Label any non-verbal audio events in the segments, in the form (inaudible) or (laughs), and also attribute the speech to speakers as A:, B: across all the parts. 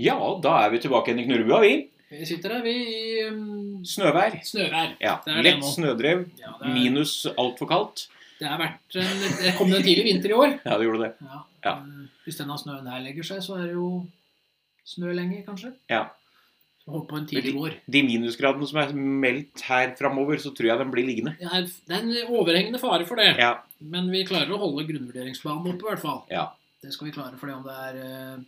A: Ja, da er vi tilbake igjen i Knurrebua, vi.
B: Vi sitter her, vi, i um,
A: Snøvær.
B: snøvær.
A: Ja,
B: Det er det
A: Lett
B: nå.
A: snødrev,
B: Ja, det, er,
A: minus altfor kaldt.
B: det har vært en, det kom en tidlig vinter i år.
A: Ja, det gjorde det.
B: Ja.
A: Ja.
B: eh, Hvis denne snøen her legger seg, så er det jo snø lenge, kanskje.
A: Ja.
B: Så Håper på en tidlig vår.
A: De minusgradene som er meldt her framover, så tror jeg den blir liggende.
B: Det er, det er en overhengende fare for det.
A: Ja,
B: Men vi klarer å holde grunnvurderingsplanen oppe, i hvert fall.
A: Ja.
B: Det skal vi klare for det om det er eh,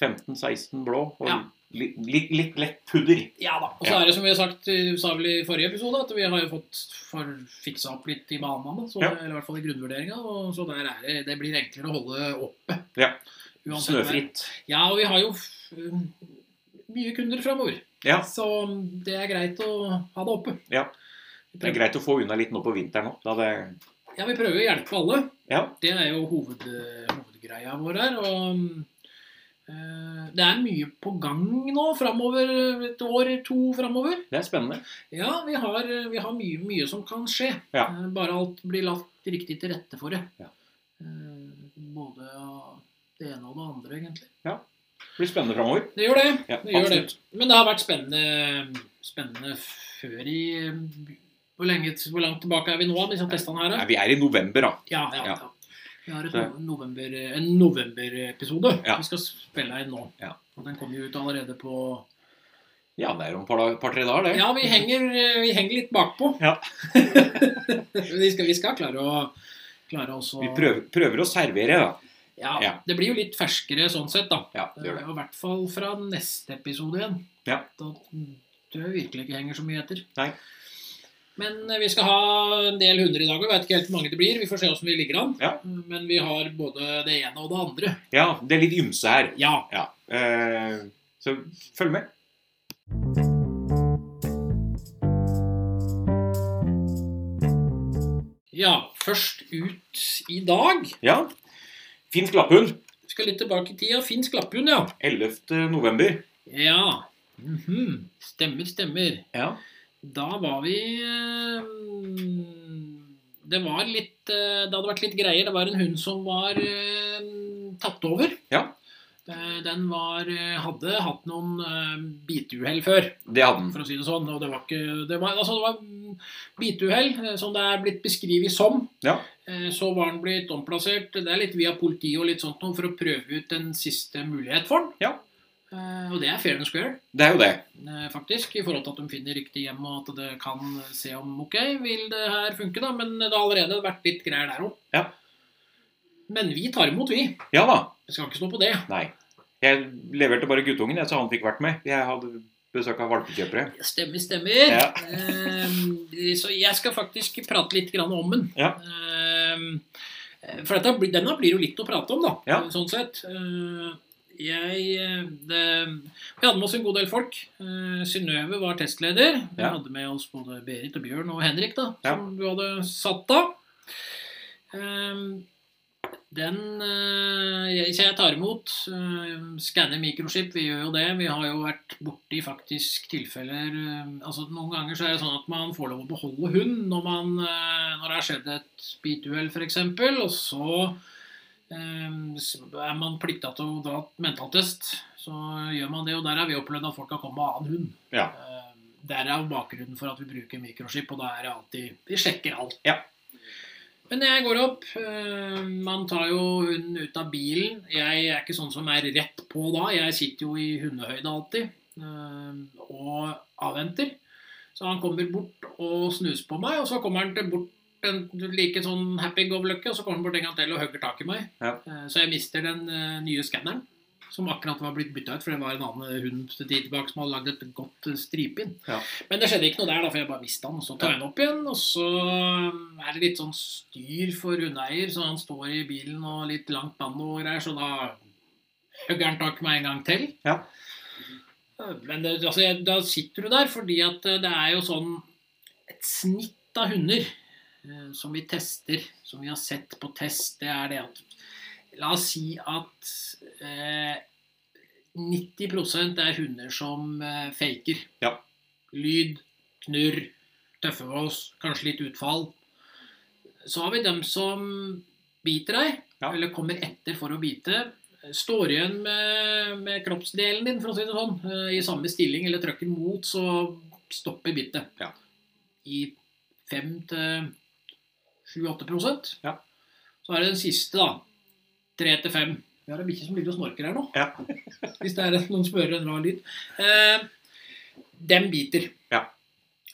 A: 15-16 blå og
B: Ja.
A: li- litt, litt lett pudder.
B: Ja da. Og så
A: Ja.
B: er det som vi har sagt eh, sa vel i forrige episode, at vi har jo fått for fiksa opp litt i banene. Så,
A: Ja.
B: Eller i hvert fall i grunnvurderinga. og Så der er det, det blir enklere å holde oppe.
A: Ja.
B: Uansett vær.
A: Snøfritt.
B: Ja, og vi har jo f- um, mye kunder framover.
A: Ja.
B: Så um, det er greit å ha det oppe.
A: Ja. Det er greit å få unna litt nå på vinteren òg. Da det
B: Ja, vi prøver å hjelpe alle.
A: Ja.
B: Det er jo hoved, eh, hovedgreia vår her. Og um, eh, det er mye på gang nå framover. Et år, to framover.
A: Det er spennende.
B: Ja, vi har, eh, vi har mye, mye som kan skje.
A: Ja.
B: Eh, Bare alt blir lagt riktig til rette for det.
A: Ja.
B: Eh, Både av det ene og det andre, egentlig.
A: Det blir spennende framover.
B: Det gjør det.
A: Ja,
B: det, gjør det.
A: absolutt.
B: Men det har vært spennende, spennende før i hvor, lenge, hvor langt tilbake er vi nå? Liksom testene her?
A: Nei,
B: da?
A: vi er i november, da.
B: Ja, ja,
A: Ja.
B: ja. Vi har et
A: Så-
B: no- november, eh, en novemberepisode
A: Ja.
B: vi skal spille inn nå.
A: Ja.
B: Og den kommer jo ut allerede på
A: Ja, det er om et par, dag- par-tre dager, det.
B: Ja,
A: (laughs)
B: vi henger, eh, vi henger litt bakpå.
A: Ja.
B: (laughs) vi, skal, vi skal klare å klare oss å
A: Vi prøver, prøver å servere, da.
B: Ja,
A: ja.
B: Det blir jo litt ferskere sånn sett, da.
A: Ja, det gjør det.
B: Og I hvert fall fra neste episode igjen.
A: Ja.
B: Da tror jeg virkelig ikke henger så mye etter.
A: Nei.
B: Men eh, vi skal ha en del hunder i dag, og jeg vet ikke helt hvor mange det blir. Vi får se åssen vi ligger an.
A: Ja.
B: Men vi har både det ene og det andre.
A: Ja, det er litt ymse her.
B: Ja.
A: Ja. Eh, så følg med.
B: ja. Først ut i dag.
A: Ja. Finsk lapphund.
B: Vi skal litt tilbake i tida. Finsk lapphund, ja.
A: 11. november.
B: Ja. Mhm. Stemmer, stemmer.
A: Ja.
B: Da var vi eh, Det var litt eh, Det hadde vært litt greier. Det var en hund som var eh, tatt over.
A: Ja.
B: Eh, Den var, eh, hadde hatt noen eh, biteuhell før,
A: Det hadde den.
B: for å si det sånn. Og det var ikke Det var, altså, det var mm, biteuhell, eh, som det er blitt beskrevet som.
A: Ja.
B: Eh, Så var den blitt omplassert. Det er litt via politiet og litt sånt noe for å prøve ut en siste mulighet for den.
A: Ja.
B: Eh, Og det er fair and square.
A: Det er jo det.
B: Eh, faktisk, i forhold til at de finner riktig hjem, og at det kan se om ok, vil det her funke, da. Men det har allerede vært litt greier der òg.
A: Ja.
B: Men vi tar imot, vi.
A: Ja da.
B: Det skal ikke stå på det.
A: Nei. Jeg leverte bare guttungen, jeg, så han fikk vært med. Jeg hadde besøk av valpekjøpere.
B: Stemmer, stemmer.
A: Ja.
B: Eh, så jeg skal faktisk prate litt grann om den.
A: Ja.
B: Eh, for dette, blir- denne blir jo litt å prate om, da.
A: Ja.
B: Sånn sett. Eh, jeg eh, det, Vi hadde med oss en god del folk. Eh, Synnøve var testleder. Vi
A: Ja.
B: hadde med oss både Berit og Bjørn og Henrik, da,
A: Ja.
B: som du hadde satt av. Eh, den eh, jeg, Så jeg tar imot. eh, Skanner mikrochip, vi gjør jo det. Vi har jo vært borti faktisk tilfeller eh, altså Noen ganger så er det sånn at man får lov å beholde hund når, man, eh, når det har skjedd et bituhell, f.eks. Og så eh, så er man plikta til å dra mentaltest. Så gjør man det, og der har vi opplevd at folk har kommet med annen hund.
A: Ja.
B: Eh, Der er jo bakgrunnen for at vi bruker mikrochip, og da er det alltid Vi sjekker alt. Men jeg går opp. eh, Man tar jo hunden ut av bilen. Jeg er ikke sånn som er rett på da. Jeg sitter jo i hundehøyde alltid eh, og avventer. Så han kommer bort og snuser på meg, og så kommer han til bort en like sånn happy go lucky, og så kommer han bort en gang til og hugger tak i meg.
A: Ja.
B: Eh, Så jeg mister den eh, nye skanneren, som akkurat var blitt bytta ut, for det var en annen hund til tid tilbake som hadde lagd et godt eh, stripinn. Men det skjedde ikke noe der, da, for jeg bare mista den. Og så tar jeg den opp igjen, og så er det litt sånn styr for hundeeier, så han står i bilen og litt langt banno og greier, så da hugger han tak i meg en gang til.
A: Ja.
B: Men det, altså, jeg, da sitter du der, fordi at eh, det er jo sånn et snitt av hunder eh, som vi tester, som vi har sett på test, det er det at La oss si at eh, 90 er hunder som eh, faker.
A: Ja.
B: Lyd, knurr, tøffe med oss, kanskje litt utfall. Så har vi dem som biter deg,
A: Ja.
B: eller kommer etter for å bite. står igjen med, med kroppsdelen din, for å si det sånn, eh, i samme stilling eller trøkken mot, så stopper bittet.
A: Ja.
B: I 5-7-8 prosent.
A: Ja.
B: Så er det den siste, da. 3-5. Vi har ei bikkje som ligger og snorker her nå.
A: Ja.
B: (laughs) Hvis det er en- noen som hører en rar lyd. Eh, dem biter.
A: Ja.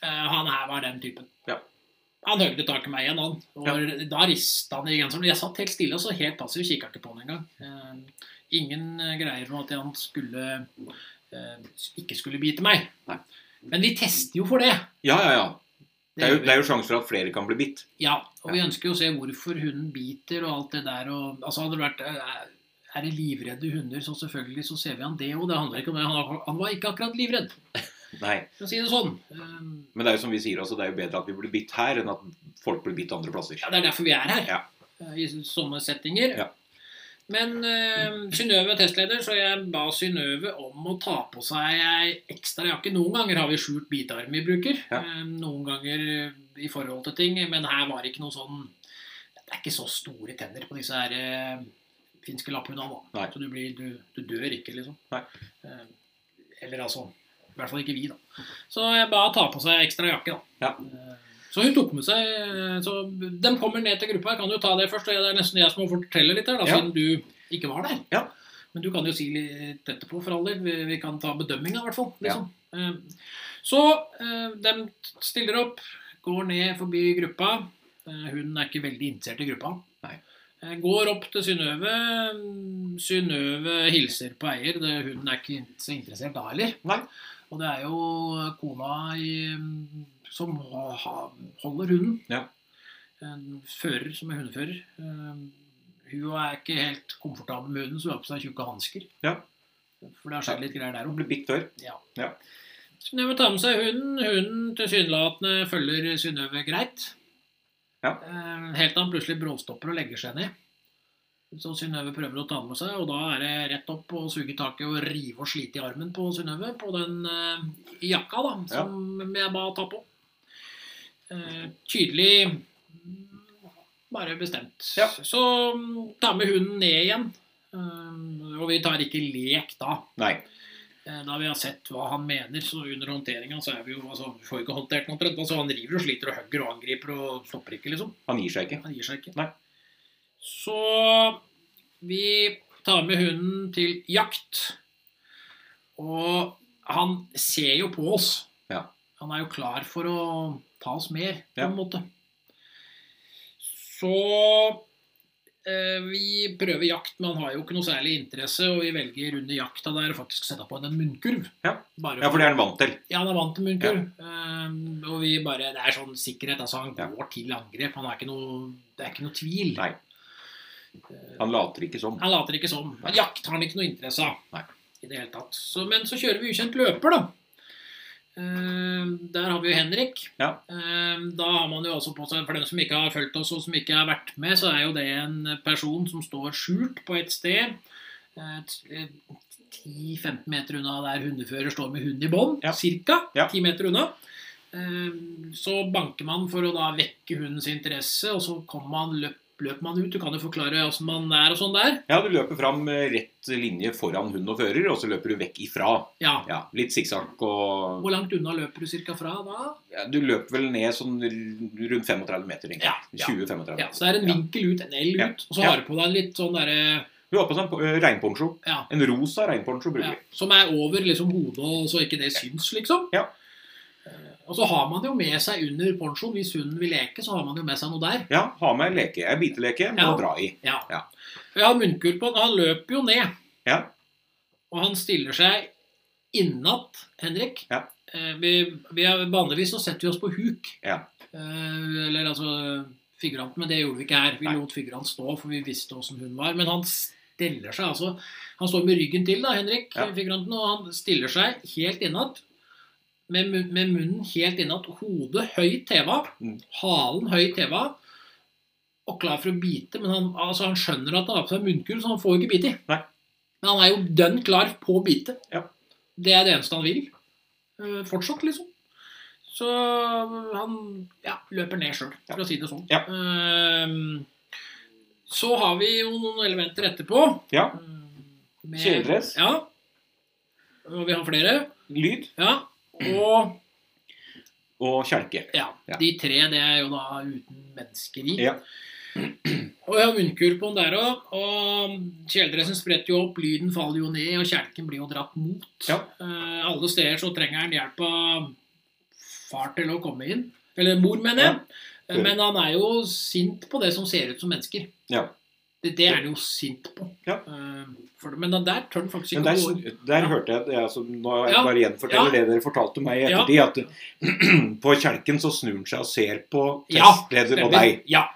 B: Eh, han her var den typen.
A: Ja.
B: Han høgde tak i meg igjen, han. Og da rista han i genseren. Jeg satt helt stille og så helt passiv, kikka ikke på han engang. Eh, ingen eh, greier om at han skulle eh, ikke skulle bite meg.
A: Nei.
B: Men vi tester jo for det.
A: Ja, ja, ja. Det er, jo,
B: gjør vi.
A: det er jo sjanse for at flere kan bli bitt.
B: Ja, og vi ønsker jo å se hvorfor hunden biter og alt det der. Og, altså hadde det vært eh, Er det livredde hunder, så selvfølgelig så ser vi han det òg. Det handler ikke om det. Han, han var ikke akkurat livredd,
A: Nei.
B: for å si det sånn. Eh,
A: Men det er jo som vi sier, altså, det er jo bedre at vi blir bitt her, enn at folk blir bitt andre plasser.
B: Ja, det er derfor vi er her.
A: Ja.
B: eh, I sånne settinger.
A: Ja.
B: Men eh, Synnøve er testleder, så jeg ba Synnøve om å ta på seg ei ekstra jakke. Noen ganger har vi skjult bitearm vi bruker.
A: Ja.
B: eh, Noen ganger eh, i forhold til ting. Men her var det ikke noe sånn Det er ikke så store tenner på disse her eh, finske lapphundene. da.
A: Nei.
B: Så du, blir, du, du dør ikke, liksom.
A: Nei.
B: Eh, Eller altså I hvert fall ikke vi, da. Så jeg ba ta på seg ekstra jakke, da. Eh, Så hun tok med seg eh, så De kommer ned til gruppa. Jeg kan jo ta det først. og Det er nesten jeg som må fortelle litt her, da,
A: Ja.
B: siden du ikke var der.
A: Ja.
B: Men du kan jo si litt etterpå, for all del. Vi, vi kan ta bedømminga, i hvert fall.
A: Ja.
B: Liksom. Eh, Så eh, de stiller opp, går ned forbi gruppa. Eh, Hun er ikke veldig interessert i gruppa.
A: Nei.
B: Eh, Går opp til Synnøve. Mm, Synnøve hilser på eier. Det- Hun er ikke så interessert da heller.
A: Nei.
B: Og det er jo kona i, ehm, som ha- ha- holder hunden.
A: Ja.
B: En fører som er hundefører. Um, Hun er ikke helt komfortabel med hunden, så hun har på seg tjukke hansker.
A: Ja.
B: For det har skjedd litt greier der
A: Hun
B: òg.
A: ble bitt før.
B: Ja.
A: Ja.
B: Synnøve tar med seg hunden. Hunden tilsynelatende følger Synnøve greit.
A: Ja.
B: Eh, Helt til han plutselig bråstopper og legger seg ned. Så Synnøve prøver å ta den med seg, og da er det rett opp og suge taket og rive og slite i armen på Synnøve. På den eh, jakka da, som jeg ba ta på. Eh, tydelig mm, bare bestemt.
A: Ja.
B: Så mm, ta med hunden ned igjen. Eh, og vi tar ikke lek da.
A: Nei.
B: Eh, Da vi har sett hva han mener, så under håndteringa så er vi jo altså, Vi får ikke håndtert noe omtrent. Altså, han river og sliter og hugger og angriper og stopper ikke, liksom.
A: Han gir seg ikke.
B: Han gir seg ikke.
A: Nei.
B: Så vi tar med hunden til jakt. Og han ser jo på oss.
A: Ja.
B: Han er jo klar for å ta oss mer, på
A: Ja.
B: en måte. Så eh, vi prøver jakt, men han har jo ikke noe særlig interesse. Og vi velger under jakta der å faktisk sette på han en munnkurv.
A: Ja.
B: Bare
A: Ja, for det er han vant til.
B: ja, han er vant til munnkurv. Ehm, og vi bare, det er sånn sikkerhet. altså Han
A: Ja.
B: går til angrep. han er ikke noe, Det er ikke noe tvil.
A: Nei. Han later ikke som.
B: Han later ikke som. Han jakter han ikke noe interesse av.
A: Nei.
B: I det hele tatt. Så, men så kjører vi ukjent løper, da. Ehm, der har vi jo Henrik.
A: Ja.
B: Ehm, da har man jo altså på seg, For dem som ikke har fulgt oss og som ikke har vært med, så er jo det en person som står skjult på et sted. eh, t- eh, 10-15 meter unna der hundefører står med hund i bånd,
A: Ja.
B: cirka.
A: Ja.
B: 10 meter unna. Ehm, Så banker man for å da vekke hundens interesse, og så kommer man, løp, løper man ut. Du kan jo forklare åssen man er og sånn der.
A: Ja, du løper fram eh, rett linje foran hund og fører, og så løper du vekk ifra.
B: Ja.
A: Ja, Litt sikksakk og
B: Hvor langt unna løper du cirka fra da?
A: ja, Du løper vel ned sånn r- rundt 35 meter, tenker jeg.
B: Ja, ja.
A: 20-35.
B: ja. Så det er en
A: Ja.
B: vinkel ut, en L ut,
A: Ja.
B: og så
A: Ja.
B: har du på deg en litt sånn derre
A: Du har på deg en po- eh, regnponcho.
B: ja,
A: En rosa regnponcho
B: ja,
A: bruker vi.
B: Som er over liksom hodet, og så ikke det syns, liksom.
A: Ja.
B: Eh, Og så har man det jo med seg under ponchoen. Hvis hunden vil leke, så har man det jo med seg noe der.
A: Ja, ha med en leke. En biteleke med
B: Ja.
A: å dra i.
B: Ja.
A: Ja.
B: Jeg har munnkurv på han. Han løper jo ned.
A: Ja.
B: Og han stiller seg innatt Henrik.
A: Ja.
B: Eh, Vi, vi er, vanligvis så setter vi oss på huk.
A: Ja.
B: Eh, eller altså figuranten, men det gjorde vi ikke her. Vi
A: Nei.
B: lot figuranten stå, for vi visste åssen hun var. Men han stiller seg altså Han står med ryggen til, da, Henrik,
A: Ja.
B: figuranten, og han stiller seg helt innatt. Med, mu- med munnen helt innatt, hodet høyt heva,
A: Mm.
B: halen høyt heva, og klar for å bite. Men han, altså, han skjønner at han har på seg munnkurv, så han får jo ikke bite i.
A: Nei.
B: Men han er jo dønn klar på å bite.
A: Ja.
B: Det er det eneste han vil. Eh, Fortsatt, liksom. Så han ja, løper ned sjøl, for å si det sånn.
A: Ja.
B: Eh, så har vi jo noen elementer etterpå.
A: Ja.
B: Eh, med-
A: Kjeledress?
B: Ja. Og vi har flere.
A: Lyd
B: Ja. Og
A: og kjelke.
B: ja,
A: Ja.
B: de tre, det er jo da uten mennesker i.
A: Ja.
B: Og jeg har munnkur på den der òg. Og kjeledressen spretter jo opp, lyden faller jo ned, og kjelken blir jo dratt mot.
A: Ja.
B: Eh, alle steder så trenger han hjelp av far til å komme inn. Eller mor, mener jeg. Eh, Men han er jo sint på det som ser ut som mennesker.
A: Ja.
B: Det, det er han jo sint på.
A: Ja.
B: Eh, for, det- men den der tør han faktisk
A: Men
B: ikke
A: der,
B: å gå inn.
A: der hørte jeg at jeg, altså, Nå jeg
B: Ja.
A: bare gjenforteller det dere fortalte meg i ettertid. At (clears throat) eh, på kjelken så snur han seg og ser på
B: Ja,
A: testleder og
B: Stemmer.
A: deg.
B: Ja.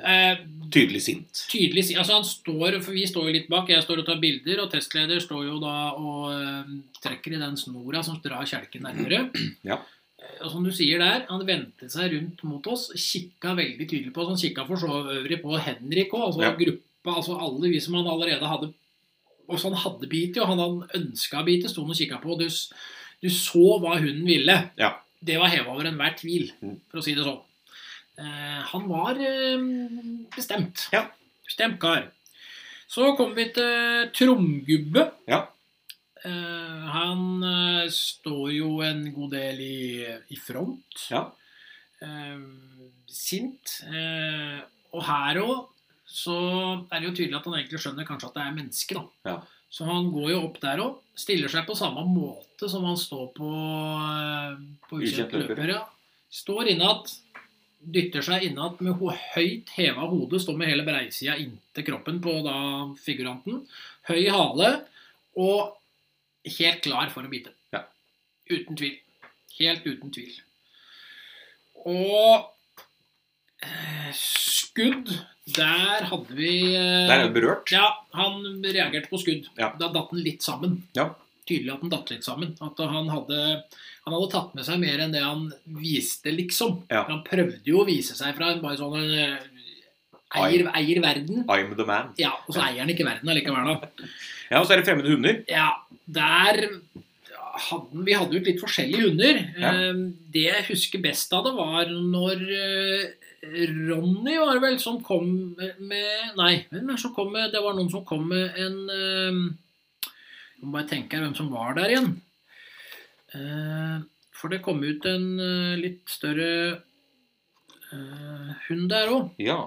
B: Eh,
A: Tydelig sint.
B: tydelig si- Altså, han står For vi står jo litt bak. Jeg står og tar bilder, og testleder står jo da og eh, trekker i den snora som drar kjelken nærmere.
A: (clears throat) Ja.
B: Eh, Og som du sier der, han vendte seg rundt mot oss, kikka veldig tydelig på oss. Han kikka for så øvrig på Henrik òg, altså
A: Ja.
B: gruppa, altså alle vi som han allerede hadde Og som han hadde bitt i, og han hadde ønska bitt i, sto han og kikka på. og Du, s- du så hva hunden ville.
A: Ja.
B: Det var heva over enhver tvil,
A: Mm.
B: for å si det sånn. Eh, han var eh, bestemt.
A: Ja.
B: Bestemt kar. Så kom vi til Tromgubbe.
A: Ja.
B: Eh, han eh, står jo en god del i, i front.
A: Ja.
B: Eh, sint. Eh, og her òg så er det jo tydelig at han egentlig skjønner kanskje at det er mennesker, da.
A: Ja.
B: Så han går jo opp der òg. Stiller seg på samme måte som han står på, eh, på
A: Ukjent
B: ukjent
A: løper.
B: løper. Ja. Står innat, dytter seg innat med ho- høyt heva hode, står med hele breisida inntil kroppen på da figuranten. Høy hale og helt klar for å bite.
A: Ja.
B: Uten tvil. Helt uten tvil. Og eh, skudd Der hadde vi eh,
A: Der er det berørt.
B: ja, han reagerte på skudd.
A: Ja.
B: Da datt han litt sammen.
A: Ja.
B: Tydelig at han datt litt sammen. At han hadde, han hadde tatt med seg mer enn det han viste, liksom.
A: Ja.
B: For Han prøvde jo å vise seg fra en bare sånn eh,
A: Ai.
B: eier, eier verden.
A: I'm the man.
B: Ja, Og så eier han ikke verden allikevel, da.
A: Ja, og så er det fremmede hunder.
B: Ja, der hadde, han- Vi hadde jo litt forskjellige hunder.
A: Ja.
B: Eh, Det jeg husker best av det, var når eh, Ronny var det vel som kom med Nei, hvem er det som kom med Det var noen som kom med en eh, Jeg må bare tenke her hvem som var der igjen. Eh, For det kom ut en eh, litt større eh, hund der òg.
A: Ja.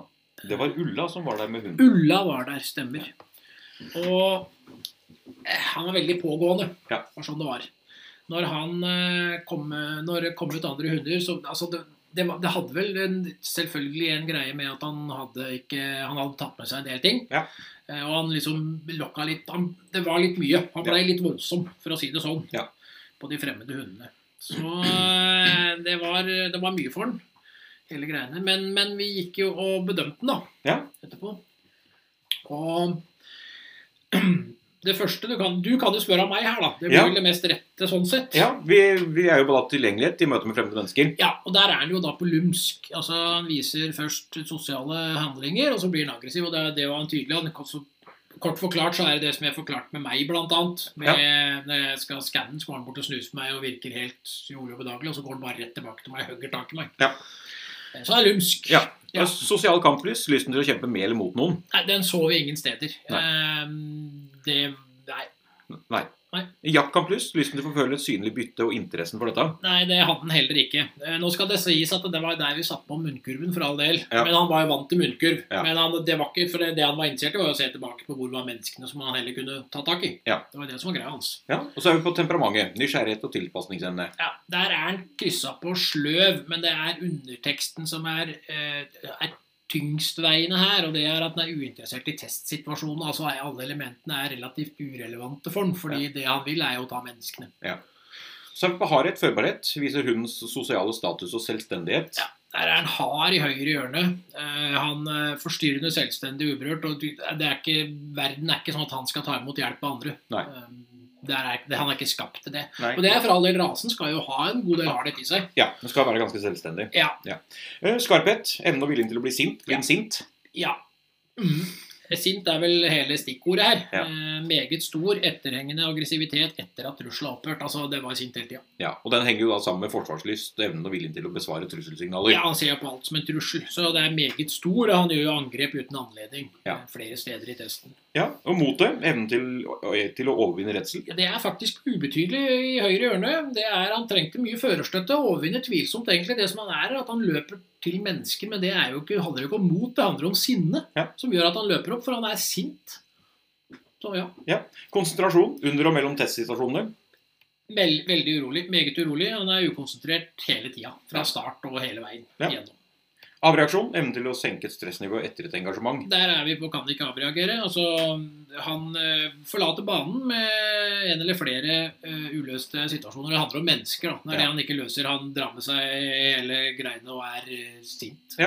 A: Det var Ulla som var der med hunden.
B: Ulla var der, stemmer. Og eh, han var veldig pågående,
A: Ja.
B: var sånn det var. Når han eh, kom, når det kom ut andre hunder, så altså det, det, var- det hadde vel en, selvfølgelig en greie med at han hadde, ikke, han hadde tatt med seg en del ting.
A: Ja.
B: Eh, Og han liksom lokka litt han, Det var litt mye. Han blei litt voldsom, for å si det sånn,
A: Ja.
B: på de fremmede hundene. Så eh, det var, det var mye for han, hele greiene. Men, men vi gikk jo og bedømte den, da
A: Ja.
B: etterpå. Og (clears throat) det første du kan Du kan jo spørre av meg her, da. Det blir
A: Ja.
B: vel det mest rette sånn sett.
A: ja vi, vi er jo bare tilgjengelighet i møte med fremmede mennesker.
B: Ja, og der er han jo da på lumsk. Altså, Han viser først sosiale handlinger, og så blir han aggressiv. Og det, det var han tydelig. Han, kan så, kort forklart så er det det som jeg forklarte med meg, blant annet. Med, Når jeg skal skanne den, så går han bort og snuser på meg og virker helt rolig og bedagelig. Og så går han bare rett tilbake til meg og hugger tak i meg.
A: Ja.
B: Så han er lumsk.
A: Ja. Ja. Sosial kamplys. Lysten til å kjempe med eller mot noen.
B: Nei, den så vi ingen steder. Ehm, det Nei.
A: Nei.
B: Nei.
A: Jaktkamplys. Lysten til å forfølge et synlig bytte og interessen for dette.
B: Nei, det hadde han heller ikke. Eh, Nå skal det sies at det var der vi satte på munnkurven, for all del.
A: Ja.
B: Men han var jo vant til munnkurv.
A: Ja.
B: Men han, det, var ikke, for det, det han var interessert i, var jo å se tilbake på hvor var menneskene som han heller kunne ta tak i.
A: Ja.
B: Det var det som var greia hans.
A: Ja. Og så er vi på temperamentet. Nysgjerrighet og tilpasningsevne.
B: Ja, Der er han kryssa på sløv, men det er underteksten som er, eh, er tyngstveiende her. Og det er at han er uinteressert i testsituasjonen. Altså er alle elementene er relativt urelevante for han, fordi det han vil, er jo å ta menneskene.
A: Så er vi på hardhet, førbarhet. Viser hundens sosiale status og selvstendighet.
B: Ja. Der er han hard i høyre hjørne. Eh, han eh, forstyrrende, selvstendig, uberørt. Og du- det er ikke, verden er ikke sånn at han skal ta imot hjelp av andre.
A: Nei.
B: Eh, der er, ikke- det, han er ikke skapt til det.
A: Nei.
B: Og det er for all del rasen skal jo ha en god del hardhet i seg.
A: Ja, Den skal være ganske selvstendig.
B: Ja.
A: Eh, Skarphet. Evnen og viljen til å bli sint. Bli
B: Ja.
A: sint.
B: ja. Mm. Sint er vel hele stikkordet her.
A: Ja.
B: Eh, meget stor etterhengende aggressivitet etter at Russland har opphørt. Altså, det var sint hele tida.
A: Ja, og Den henger jo da sammen med forsvarslyst, evnen og viljen til å besvare trusselsignaler.
B: Ja, han ser på alt som en trussel. Så det er meget stor, og han gjør jo angrep uten anledning
A: Ja.
B: eh, flere steder i testen.
A: Ja, Og motet, evnen til, å- til å overvinne redsel.
B: Ja, det er faktisk ubetydelig i høyre ørne. Det er, Han trengte mye førerstøtte og overvinner tvilsomt egentlig det som han er, at han løper til mennesker. Men det er jo ikke, handler jo ikke om mot, det handler om sinne,
A: Ja.
B: som gjør at han løper opp, for han er sint. Så ja,
A: Konsentrasjon under og mellom testsituasjonene.
B: Vel, veldig urolig. Meget urolig. Han er ukonsentrert hele tida. Fra start og hele veien
A: Ja.
B: igjennom.
A: Avreaksjon, evnen til å senke et stressnivå etter et engasjement.
B: Der er vi på kan ikke avreagere. Altså, han eh, forlater banen med en eller flere eh, uløste situasjoner. Det handler om mennesker. da. Det er
A: Ja.
B: det han ikke løser. Han drar med seg hele greiene og er eh, sint.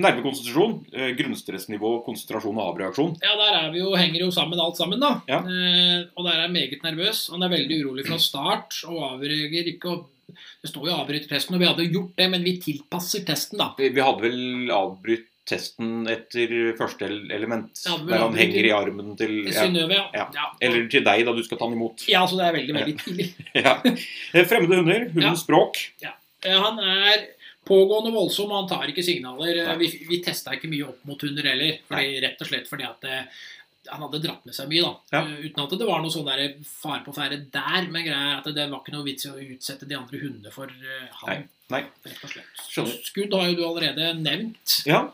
A: Nervekonsentrasjon, eh, grunnstressnivå, konsentrasjon og avreaksjon.
B: Ja, der er vi jo, henger jo sammen alt sammen, da.
A: Ja.
B: Eh, og der er jeg meget nervøs. Han er veldig urolig fra start og avreagerer ikke. Og det står jo 'avbryter testen', og vi hadde jo gjort det, men vi tilpasser testen, da.
A: Vi vi hadde vel avbrutt testen etter første el- element,
B: Ja, men
A: der han
B: avbrutt-
A: henger i armen til ja,
B: Synnøve, ja.
A: Ja.
B: ja.
A: Eller til deg, da du skal ta han imot. (laughs)
B: Ja, så det er veldig, veldig tidlig.
A: Ja. Eh, Fremmede hunder, hundens språk.
B: Eh, Han er pågående voldsom, og han tar ikke signaler. Eh,
A: Nei.
B: Vi, vi testa ikke mye opp mot hunder heller, fordi, rett og slett fordi at eh, han hadde dratt med seg mye, da.
A: Ja.
B: Eh, Uten at det var noe sånn der fare på ferde der, men greia er at det var ikke noe vits i å utsette de andre hundene for eh, han.
A: Nei, nei.
B: Rett og slett.
A: Skjønner.
B: Skudd har jo du allerede nevnt.
A: Ja.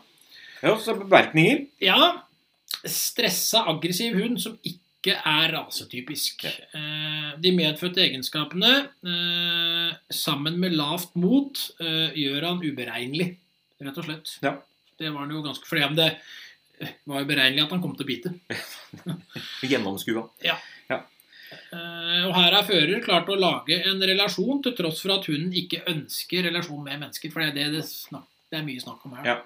A: ja så bemerkninger.
B: Ja. Stressa, aggressiv hund som ikke er rasetypisk. Eh, De medfødte egenskapene, eh, sammen med lavt mot, eh, gjør han uberegnelig, rett og slett.
A: Ja.
B: Det var han jo ganske fordi om det eh, var jo beregnelig at han kom til å bite.
A: Gjennomskua.
B: Eh, Og her har fører klart å lage en relasjon til tross for at hunden ikke ønsker relasjon med mennesker. For det er det det, snak det er mye snakk om her.
A: Ja.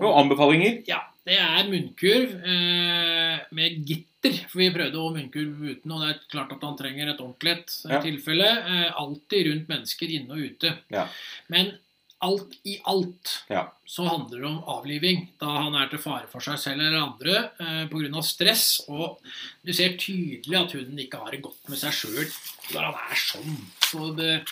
A: Og anbefalinger.
B: Ja, det er munnkurv eh, med gitter. For vi prøvde å munnkurv uten, og det er klart at han trenger et ordentlig et eh,
A: Ja.
B: tilfelle. Eh, alltid rundt mennesker inne og ute.
A: Ja.
B: Men alt i alt
A: Ja.
B: så handler det om avliving, da han er til fare for seg selv eller andre eh, pga. stress. Og du ser tydelig at hunden ikke har det godt med seg sjøl når han er sånn. Så det,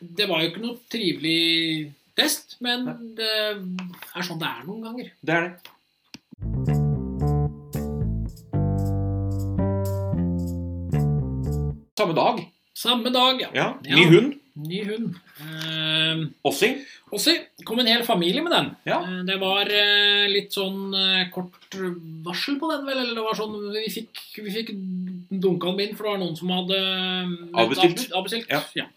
B: det var jo ikke noe trivelig test, men det er sånn det er noen ganger.
A: Det er det. Samme dag.
B: Samme dag, ja.
A: Ja.
B: Ja.
A: Ny hund.
B: Ny hund. Eh,
A: Ossi.
B: og så kom en hel familie med den.
A: Ja.
B: Eh, det var eh, litt sånn eh, kort varsel på den, vel? Eller det var sånn Vi fikk, vi fikk dunka den inn, for det var noen som hadde eh,
A: Avbestilt.
B: av- Avbestilt,
A: Ja.
B: ja.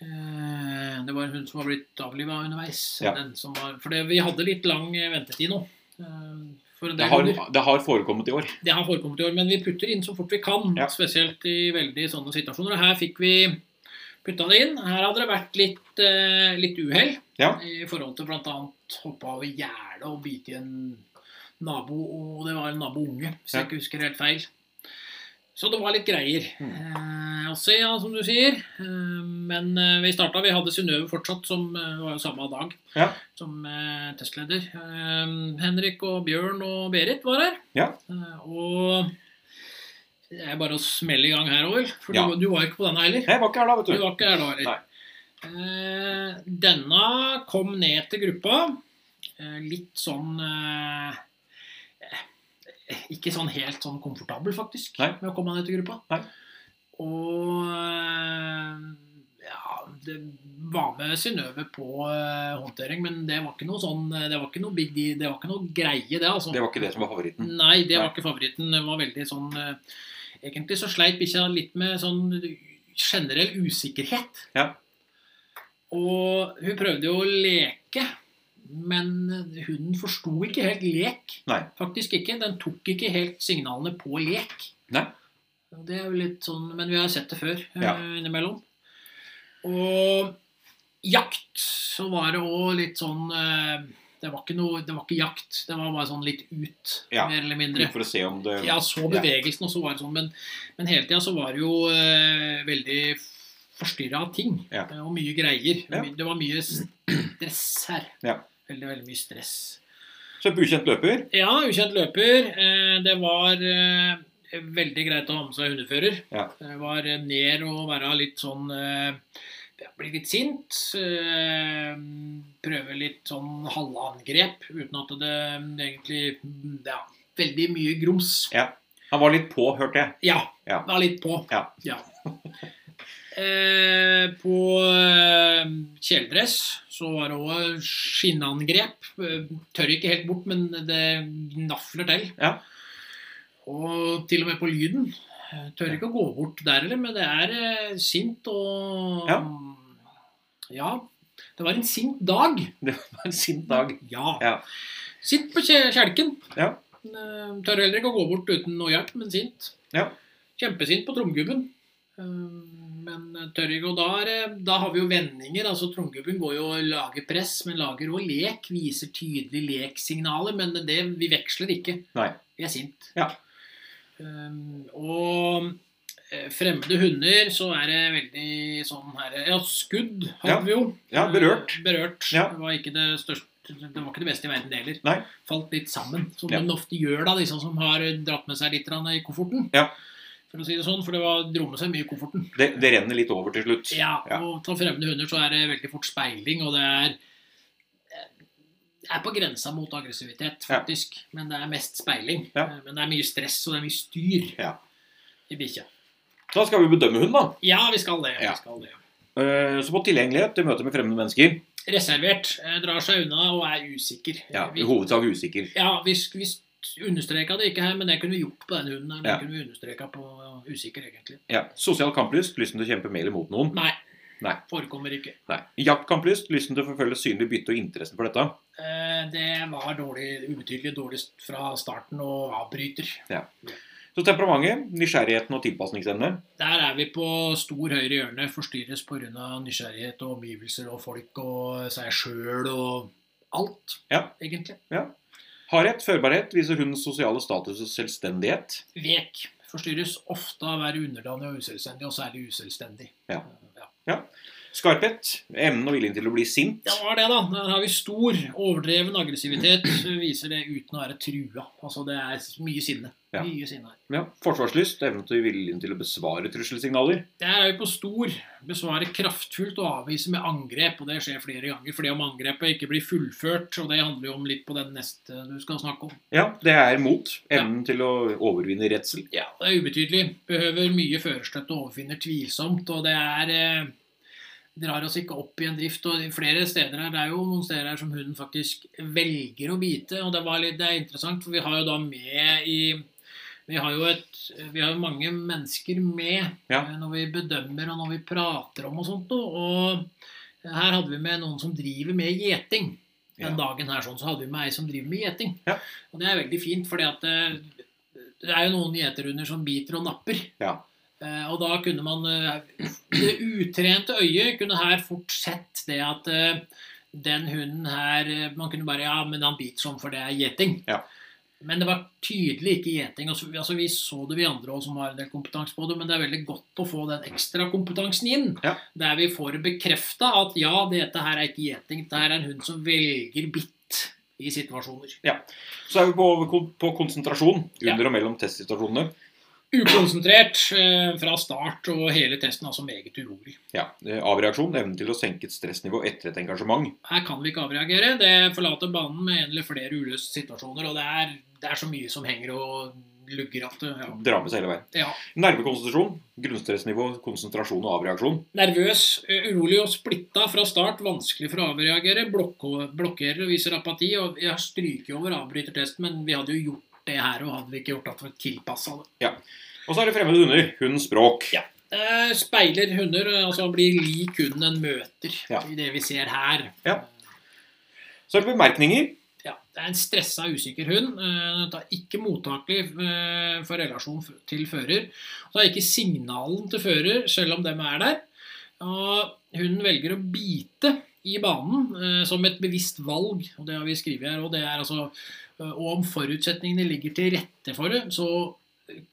B: Eh, det var en hund som var blitt avliva underveis.
A: Ja.
B: Den som var, for det, vi hadde litt lang eh, ventetid nå. Eh, for en
A: Det
B: del
A: har,
B: hunder.
A: det har forekommet i år.
B: Det har forekommet i år, men vi putter inn så fort vi kan.
A: Ja.
B: Spesielt i veldig sånne situasjoner. Og her fikk vi putta det inn. Her hadde det vært litt, eh, litt uhell
A: Ja.
B: i forhold til bl.a. hoppe over gjerdet og bite i en nabo, og det var en nabounge, hvis
A: Ja.
B: jeg ikke husker helt feil. Så det var litt greier.
A: Mm.
B: Eh, også, ja, som du sier. Eh, men eh, vi starta, vi hadde Synnøve fortsatt, som eh, var jo samme dag
A: Ja.
B: som eh, testleder. Eh, Henrik og Bjørn og Berit var her.
A: Ja.
B: Eh, og det er bare å smelle i gang her over, for
A: Ja.
B: du, du var ikke på denne heller.
A: Jeg var ikke her da,
B: Du
A: vet du.
B: var ikke her da
A: Nei.
B: heller. Eh, denne kom ned til gruppa. Eh, litt sånn eh, eh, Ikke sånn helt sånn komfortabel, faktisk,
A: Nei.
B: med å komme ned til gruppa.
A: Nei.
B: Og eh, ja, det var med Synnøve på eh, håndtering, men det var ikke noe sånn eh, Det var ikke noe big deal, det var ikke noe greie, det, altså.
A: Det var ikke det som var favoritten.
B: Nei, det
A: Mm. Nei.
B: var ikke favoritten. Den var veldig sånn eh, Egentlig så sleit bikkja litt med sånn generell usikkerhet.
A: Ja.
B: Og hun prøvde jo å leke, men hunden forsto ikke helt lek.
A: Nei.
B: Faktisk ikke. Den tok ikke helt signalene på lek.
A: Nei.
B: Og Det er jo litt sånn Men vi har sett det før eh,
A: Ja.
B: innimellom. Og jakt, så var det òg litt sånn eh, det var, ikke noe, det var ikke jakt, det var bare sånn litt ut,
A: Ja. eh,
B: mer eller mindre.
A: Litt for å se om det
B: Ja, så bevegelsen, og så var det sånn. Men, men hele tida så var det jo eh, veldig forstyrra av ting.
A: Ja.
B: eh, Og mye greier.
A: Ja.
B: My- Det var mye (clears throat) stress her.
A: Ja.
B: Veldig, veldig mye stress.
A: Kjøpe ukjent løper.
B: Ja, ukjent løper. Eh, Det var eh, veldig greit å ha med seg hundefører.
A: Ja.
B: Det var eh, ned å være litt sånn eh, ja, Bli litt sint. eh, Prøve litt sånn halvangrep uten at det mm, egentlig mm, Ja, veldig mye grums.
A: Han var litt på, hørte jeg. (laughs)
B: Ja.
A: Ja.
B: Var litt på.
A: Ja.
B: (laughs) Eh, på eh, kjeledress så var det òg skinnangrep. Eh, Tør ikke helt bort, men det gnafler til.
A: Ja.
B: Og til og med på lyden. Eh, Tør ikke å gå bort der heller, men det er eh, sint og
A: Ja.
B: ja. Det var en sint dag.
A: Det var en sint dag.
B: Ja.
A: Ja.
B: Sint på kje- kjelken.
A: Ja.
B: Eh, Tør heller ikke å gå bort uten noe hjelp, men sint.
A: Ja.
B: Kjempesint på tromgubben. Eh, Men tør ikke, og da, er, det- da har vi jo vendinger. altså Tromgubben går jo og lager press, men lager òg lek. Viser tydelige leksignaler, men det, vi veksler ikke.
A: Nei.
B: Vi er sint.
A: Ja.
B: Eh, og eh, fremmede hunder, så er det veldig sånn her Ja, skudd hadde
A: Ja.
B: vi jo.
A: Ja, berørt.
B: Eh, Berørt.
A: Ja.
B: Det var ikke det største det var ikke det beste i verden det heller.
A: Nei.
B: Falt litt sammen, som
A: Ja.
B: den ofte gjør, da, disse som har dratt med seg litt grann i kofferten.
A: Ja.
B: For å si det sånn, for det var dro med seg mye i kofferten.
A: Det, det renner litt over til slutt.
B: Ja,
A: Ja.
B: Og ta fremmede hunder, så er det veldig fort speiling, og det er det er på grensa mot aggressivitet,
A: Ja.
B: faktisk. Men det er mest speiling.
A: Ja.
B: Eh, Men det er mye stress, og det er mye styr
A: Ja.
B: i bikkja.
A: Da skal vi bedømme hund, da.
B: Ja, vi skal det.
A: Ja.
B: Vi skal det.
A: Eh, Så på tilgjengelighet til møte med fremmede mennesker.
B: Reservert. eh, Drar seg unna og er usikker.
A: Ja,
B: Vi-
A: I hovedsak usikker.
B: Ja, vi, vi understreka det ikke her, men det kunne vi gjort på den hunden. her. Det
A: Ja.
B: kunne vi understreka på uh, usikker, egentlig.
A: Ja. Sosial kamplyst, lysten til å kjempe med eller mot noen.
B: Nei.
A: Nei.
B: Forekommer ikke.
A: Nei. Jaktkamplyst, lysten til å forfølge synlig bytte og interessen for dette.
B: Eh, Det var dårlig, ubetydelig dårlig fra starten og avbryter.
A: Så temperamentet, nysgjerrigheten og tilpasningsevne.
B: Der er vi på stor høyre hjørne, forstyrres pga. nysgjerrighet og omgivelser og folk og seg sjøl og alt,
A: Ja.
B: egentlig.
A: Hardhet, førbarhet viser hundens sosiale status og selvstendighet.
B: Vek. Forstyrres ofte av å være underdanig og uselvstendig, og særlig uselvstendig. Eh,
A: Ja.
B: ja.
A: Skarphet, evnen og viljen til å bli sint.
B: Det var det, da. Der har vi stor, overdreven aggressivitet. Viser det uten å være trua. Altså, det er mye sinne.
A: Ja.
B: Mye sinne. her.
A: Ja. Forsvarslyst, evnen til viljen til å besvare trusselsignaler.
B: Der er vi på stor. Besvare kraftfullt og avvise med angrep. Og det skjer flere ganger. Fordi om angrepet ikke blir fullført, og det handler jo om litt på den neste du skal snakke om.
A: Ja, det er mot. Evnen til å overvinne redsel.
B: Ja, det er ubetydelig. Behøver mye førerstøtte og overfinner tvilsomt. Og det er eh, Drar oss ikke opp i en drift. og flere steder her, Det er jo noen steder her som hunden faktisk velger å bite. og Det, var litt, det er interessant, for vi har jo da med i Vi har jo et, vi har jo mange mennesker med
A: Ja.
B: eh, når vi bedømmer og når vi prater om og sånt. noe, og Her hadde vi med noen som driver med gjeting. Den
A: Ja.
B: dagen her sånn, så hadde vi med ei som driver med gjeting.
A: Ja.
B: Og det er veldig fint, fordi at eh, det er jo noen gjeterhunder som biter og napper.
A: Ja.
B: Eh, og da kunne man eh, (clears throat) Det utrente øyet kunne her fort sett det at eh, den hunden her eh, Man kunne bare Ja, men han biter sånn, for det er gjeting.
A: Ja.
B: Men det var tydelig ikke gjeting. og så- Altså, vi så det, vi andre også, som har en del kompetanse på det, men det er veldig godt å få den ekstra kompetansen inn.
A: Ja.
B: Der vi får bekrefta at ja, dette her er ikke gjeting. Dette her er en hund som velger bitt i situasjoner.
A: Så er vi på, på konsentrasjon
B: Ja.
A: under og mellom testsituasjonene.
B: Ukonsentrert eh, fra start og hele testen, altså meget urolig.
A: Ja, eh, Avreaksjon, evnen til å senke et stressnivå etter et engasjement.
B: Her kan vi ikke avreagere. Det forlater banen med en eller flere uløste situasjoner, og det er, det er så mye som henger og lugger at det ja.
A: Dra med seg hele veien.
B: ja.
A: Nervekonsentrasjon, grunnstressnivå, konsentrasjon og avreaksjon.
B: Nervøs, eh, urolig og splitta fra start. Vanskelig for å avreagere. blokko- Blokkerer og viser apati. og Jeg stryker over avbrytertesten, men vi hadde jo gjort det her, og hadde vi ikke gjort at vi tilpassa det.
A: Og så er det fremmede hunder. Hundens språk.
B: Ja. Eh, Speiler hunder, eh, altså han blir lik hunden en møter,
A: Ja.
B: i det vi ser her.
A: Ja. Så er det bemerkninger.
B: Ja, det er en stressa, usikker hund. Eh, Den er ikke mottakelig eh, for relasjon f- til fører. Den har ikke signalen til fører, selv om dem er der. Og hunden velger å bite i banen eh, som et bevisst valg, og det har vi skrevet her. Og det er altså eh, Og om forutsetningene ligger til rette for det, så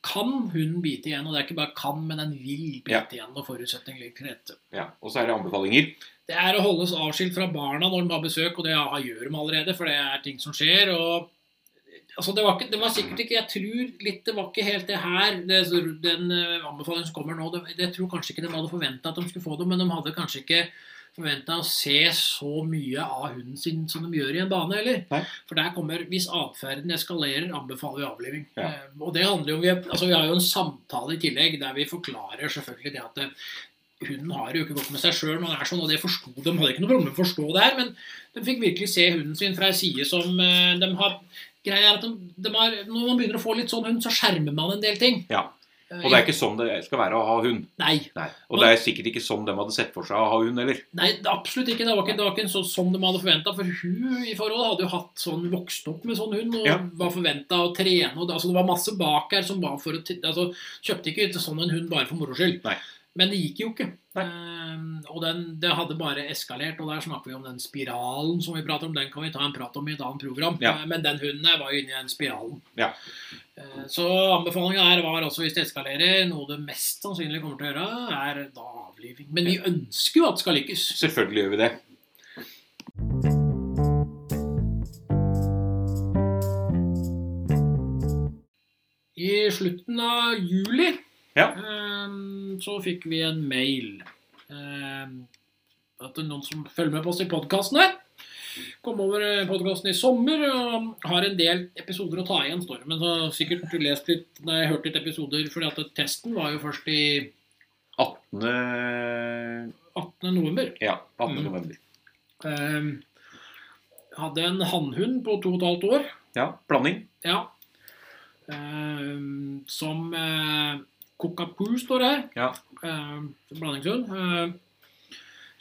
B: kan hun bite igjen. Og det er ikke bare kan, men den vil bite
A: Ja.
B: igjen når forutsetningene ligger til rette.
A: Ja, Og så er det anbefalinger.
B: Det er å holdes avskilt fra barna når de har besøk, og det har- gjør de allerede, for det er ting som skjer. og altså det, var ikke, det var sikkert ikke Jeg tror litt det var ikke helt det her det, Den eh, anbefalingen som kommer nå det, det tror kanskje ikke de hadde forventa at de skulle få det, men de hadde kanskje ikke forventa å se så mye av hunden sin som de gjør i en bane, eller?
A: Nei.
B: For der kommer Hvis atferden eskalerer, anbefaler vi avliving.
A: Ja.
B: Eh, Og det handler jo om vi, altså vi har jo en samtale i tillegg der vi forklarer selvfølgelig det at eh, Hunden har jo ikke gått med seg sjøl, men han er sånn, og det forsto de. Hadde ikke noe problem med å forstå det her, men de fikk virkelig se hunden sin fra ei side som eh, de har greia er at de, de har, Når man begynner å få litt sånn hund, så skjermer man en del ting. Eh,
A: Ja. Og det er ikke sånn det skal være å ha hund.
B: Nei,
A: Nei. Og det er sikkert ikke sånn de hadde sett for seg å ha hund heller.
B: nei, det er absolutt ikke. Det var ikke, det var ikke en så, som de hadde forventa. For hun i forhold hadde jo hatt sånn, vokst opp med sånn hund og
A: Ja.
B: var forventa å trene. Og det, altså, det var masse bak her som var for å t- altså, Kjøpte ikke sånn en hund bare for moro skyld.
A: Nei.
B: Men det gikk jo ikke.
A: Nei.
B: Ehm, og den, det hadde bare eskalert. Og der snakker vi om den spiralen som vi prater om. Den kan vi ta en prat om i et annet program.
A: Ja.
B: Eh, Men den hunden her var jo inne i den spiralen.
A: Ja.
B: Eh, Så anbefalinga her var altså hvis det eskalerer, noe det mest sannsynlig kommer til å gjøre, er da avliving. Men vi ønsker jo at det skal lykkes.
A: Selvfølgelig gjør vi det.
B: I slutten av juli
A: Ja.
B: eh, så fikk vi en mail. eh, At det er noen som følger med på oss i podkasten her. Kom over podkasten i sommer og har en del episoder å ta igjen, står det. Men så har jeg sikkert lest litt, nei, hørt litt episoder, fordi at testen var jo først i
A: 18.
B: 18. november.
A: Ja, 18.
B: Mm.
A: november.
B: Ehm, hadde en hannhund på to og et halvt år.
A: Ja, blanding.
B: Ja. Ehm, som uh, Kokapu står det her.
A: Ja.
B: Ehm, blandingshund. Ehm,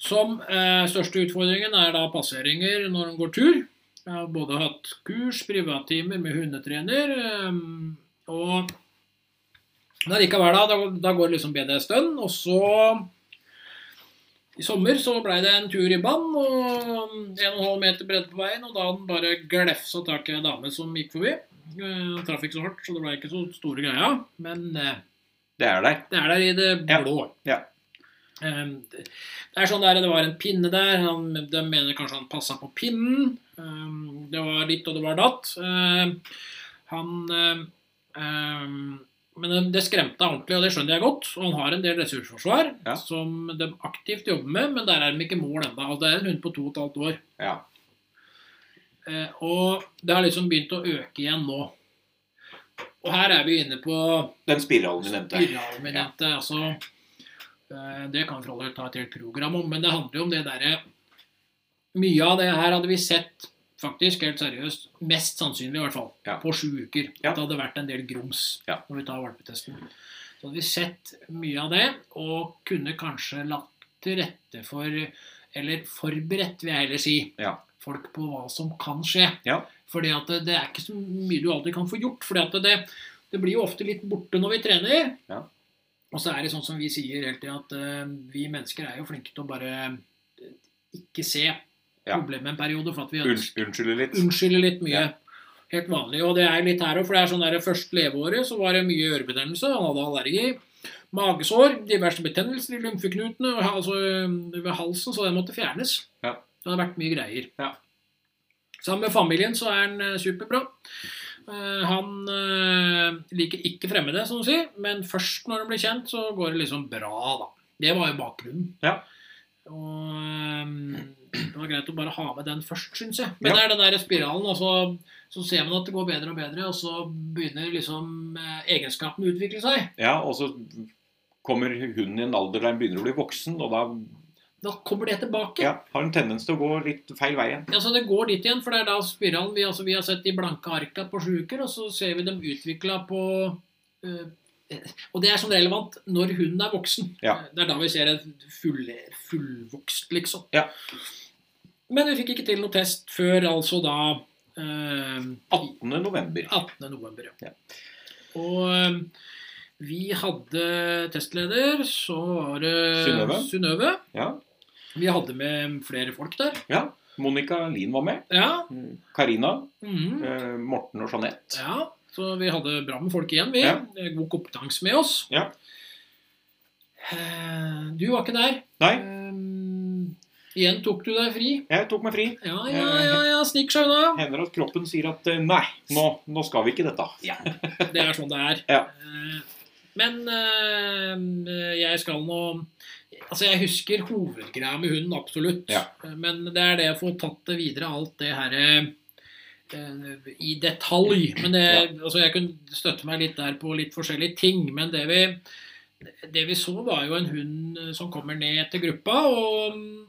B: som eh, største utfordringen er da passeringer når de går tur. Jeg har både hatt kurs, privattimer med hundetrener, ehm, og men likevel, da, da, da går det liksom bedre en stund. Og så i sommer så blei det en tur i vann, og 1,5 meter bredde på veien, og da han bare glefsa tak i ei dame som gikk forbi. Eh, Han traff ikke så hardt, så det blei ikke så store greia. Men eh,
A: Det er der.
B: det er der i det
A: Ja.
B: blå.
A: Ja.
B: Ehm, det det er sånn der, det var en pinne der. Han, de mener kanskje han passa på pinnen. Ehm, det var ditt og det var datt. Ehm, han ehm, ehm, Men det- det skremte han ordentlig, og det skjønner jeg godt. Og han har en del ressursforsvar
A: Ja.
B: som de aktivt jobber med, men der er de ikke mål ennå. Altså, det er en hund på to og et halvt år.
A: Ja.
B: Eh, og det har liksom begynt å øke igjen nå. Og her er vi inne på
A: Den spiralen vi nevnte.
B: Spiralminente, altså eh, Det kan vi for all del ta et helt program om, men det handler jo om det derre Mye av det her hadde vi sett, faktisk, helt seriøst, mest sannsynlig i hvert fall,
A: Ja.
B: på sju uker.
A: Ja.
B: At det hadde vært en del grums
A: Ja.
B: når vi tar valpetesten. Så hadde vi sett mye av det, og kunne kanskje lagt til rette for Eller forberedt, vil jeg heller si,
A: Ja.
B: folk på hva som kan skje.
A: Ja.
B: Fordi at det- det er ikke så mye du alltid kan få gjort. fordi at det, det blir jo ofte litt borte når vi trener.
A: Ja.
B: Og så er det sånn som vi sier hele tiden, at eh, vi mennesker er jo flinke til å bare eh, ikke se
A: Ja.
B: problemet en periode, for at vi
A: Unns- Unnskylde litt.
B: unnskylder litt mye.
A: Ja.
B: Helt vanlig. Og det er litt her òg, for det er sånn der første leveåret så var det mye ørebetennelse. Han hadde allergi. Magesår, diverse betennelser i lymfeknutene, og ha- altså øhm, ved halsen, så den måtte fjernes.
A: Ja.
B: Det hadde vært mye greier.
A: Ja.
B: Sammen med familien så er han eh, superbra. Eh, Han eh, liker ikke fremmede, som du sier, men først når han blir kjent, så går det liksom bra, da. Det var jo bakgrunnen.
A: Ja.
B: Og ehm, det var greit å bare ha med den først, syns jeg. Men
A: Ja.
B: det er den der spiralen, og så, så ser man at det går bedre og bedre, og så begynner liksom eh, egenskapene å utvikle seg.
A: Ja, og så kommer hunden i en alder der den begynner å bli voksen, og da
B: Da kommer det tilbake.
A: ja, har den tendens til å gå litt feil vei igjen.
B: Altså, det går dit igjen, for det er da spiralen vi, altså, vi har sett de blanke arka på sju uker, og så ser vi dem utvikla på eh, Og det er sånn relevant når hunden er voksen. Eh,
A: Ja.
B: Det er da vi ser en full, fullvokst, liksom.
A: Ja.
B: Men vi fikk ikke til noe test før altså da eh,
A: 18. november.
B: 18. november, ja.
A: Ja.
B: Og eh, vi hadde testleder, så var det
A: Synnøve.
B: Synnøve.
A: Ja.
B: Vi hadde med flere folk der.
A: ja. Monica Lien var med.
B: Ja.
A: Karina,
B: mhm,
A: eh, Morten og Jeanette.
B: ja. Så vi hadde bra med folk igjen, vi. Eh,
A: Ja.
B: God kompetanse med oss.
A: Ja.
B: Eh, Du var ikke der.
A: Nei,
B: Eh, igjen tok du deg fri.
A: jeg tok meg fri.
B: Ja, ja, ja,
A: Eh.
B: ja snik seg unna.
A: Hender at kroppen sier at eh, nei, nå, nå skal vi ikke dette.
B: Ja, det er sånn det er.
A: Ja.
B: Eh, Men eh, jeg skal nå Altså, jeg husker hovedgreia med hunden, absolutt.
A: Ja.
B: Eh, Men det er det å få tatt det videre, alt det her eh, i detalj. Men det, altså, jeg kunne støtte meg litt der på litt forskjellige ting. Men det vi, det vi så, var jo en hund eh, som kommer ned til gruppa, og mm,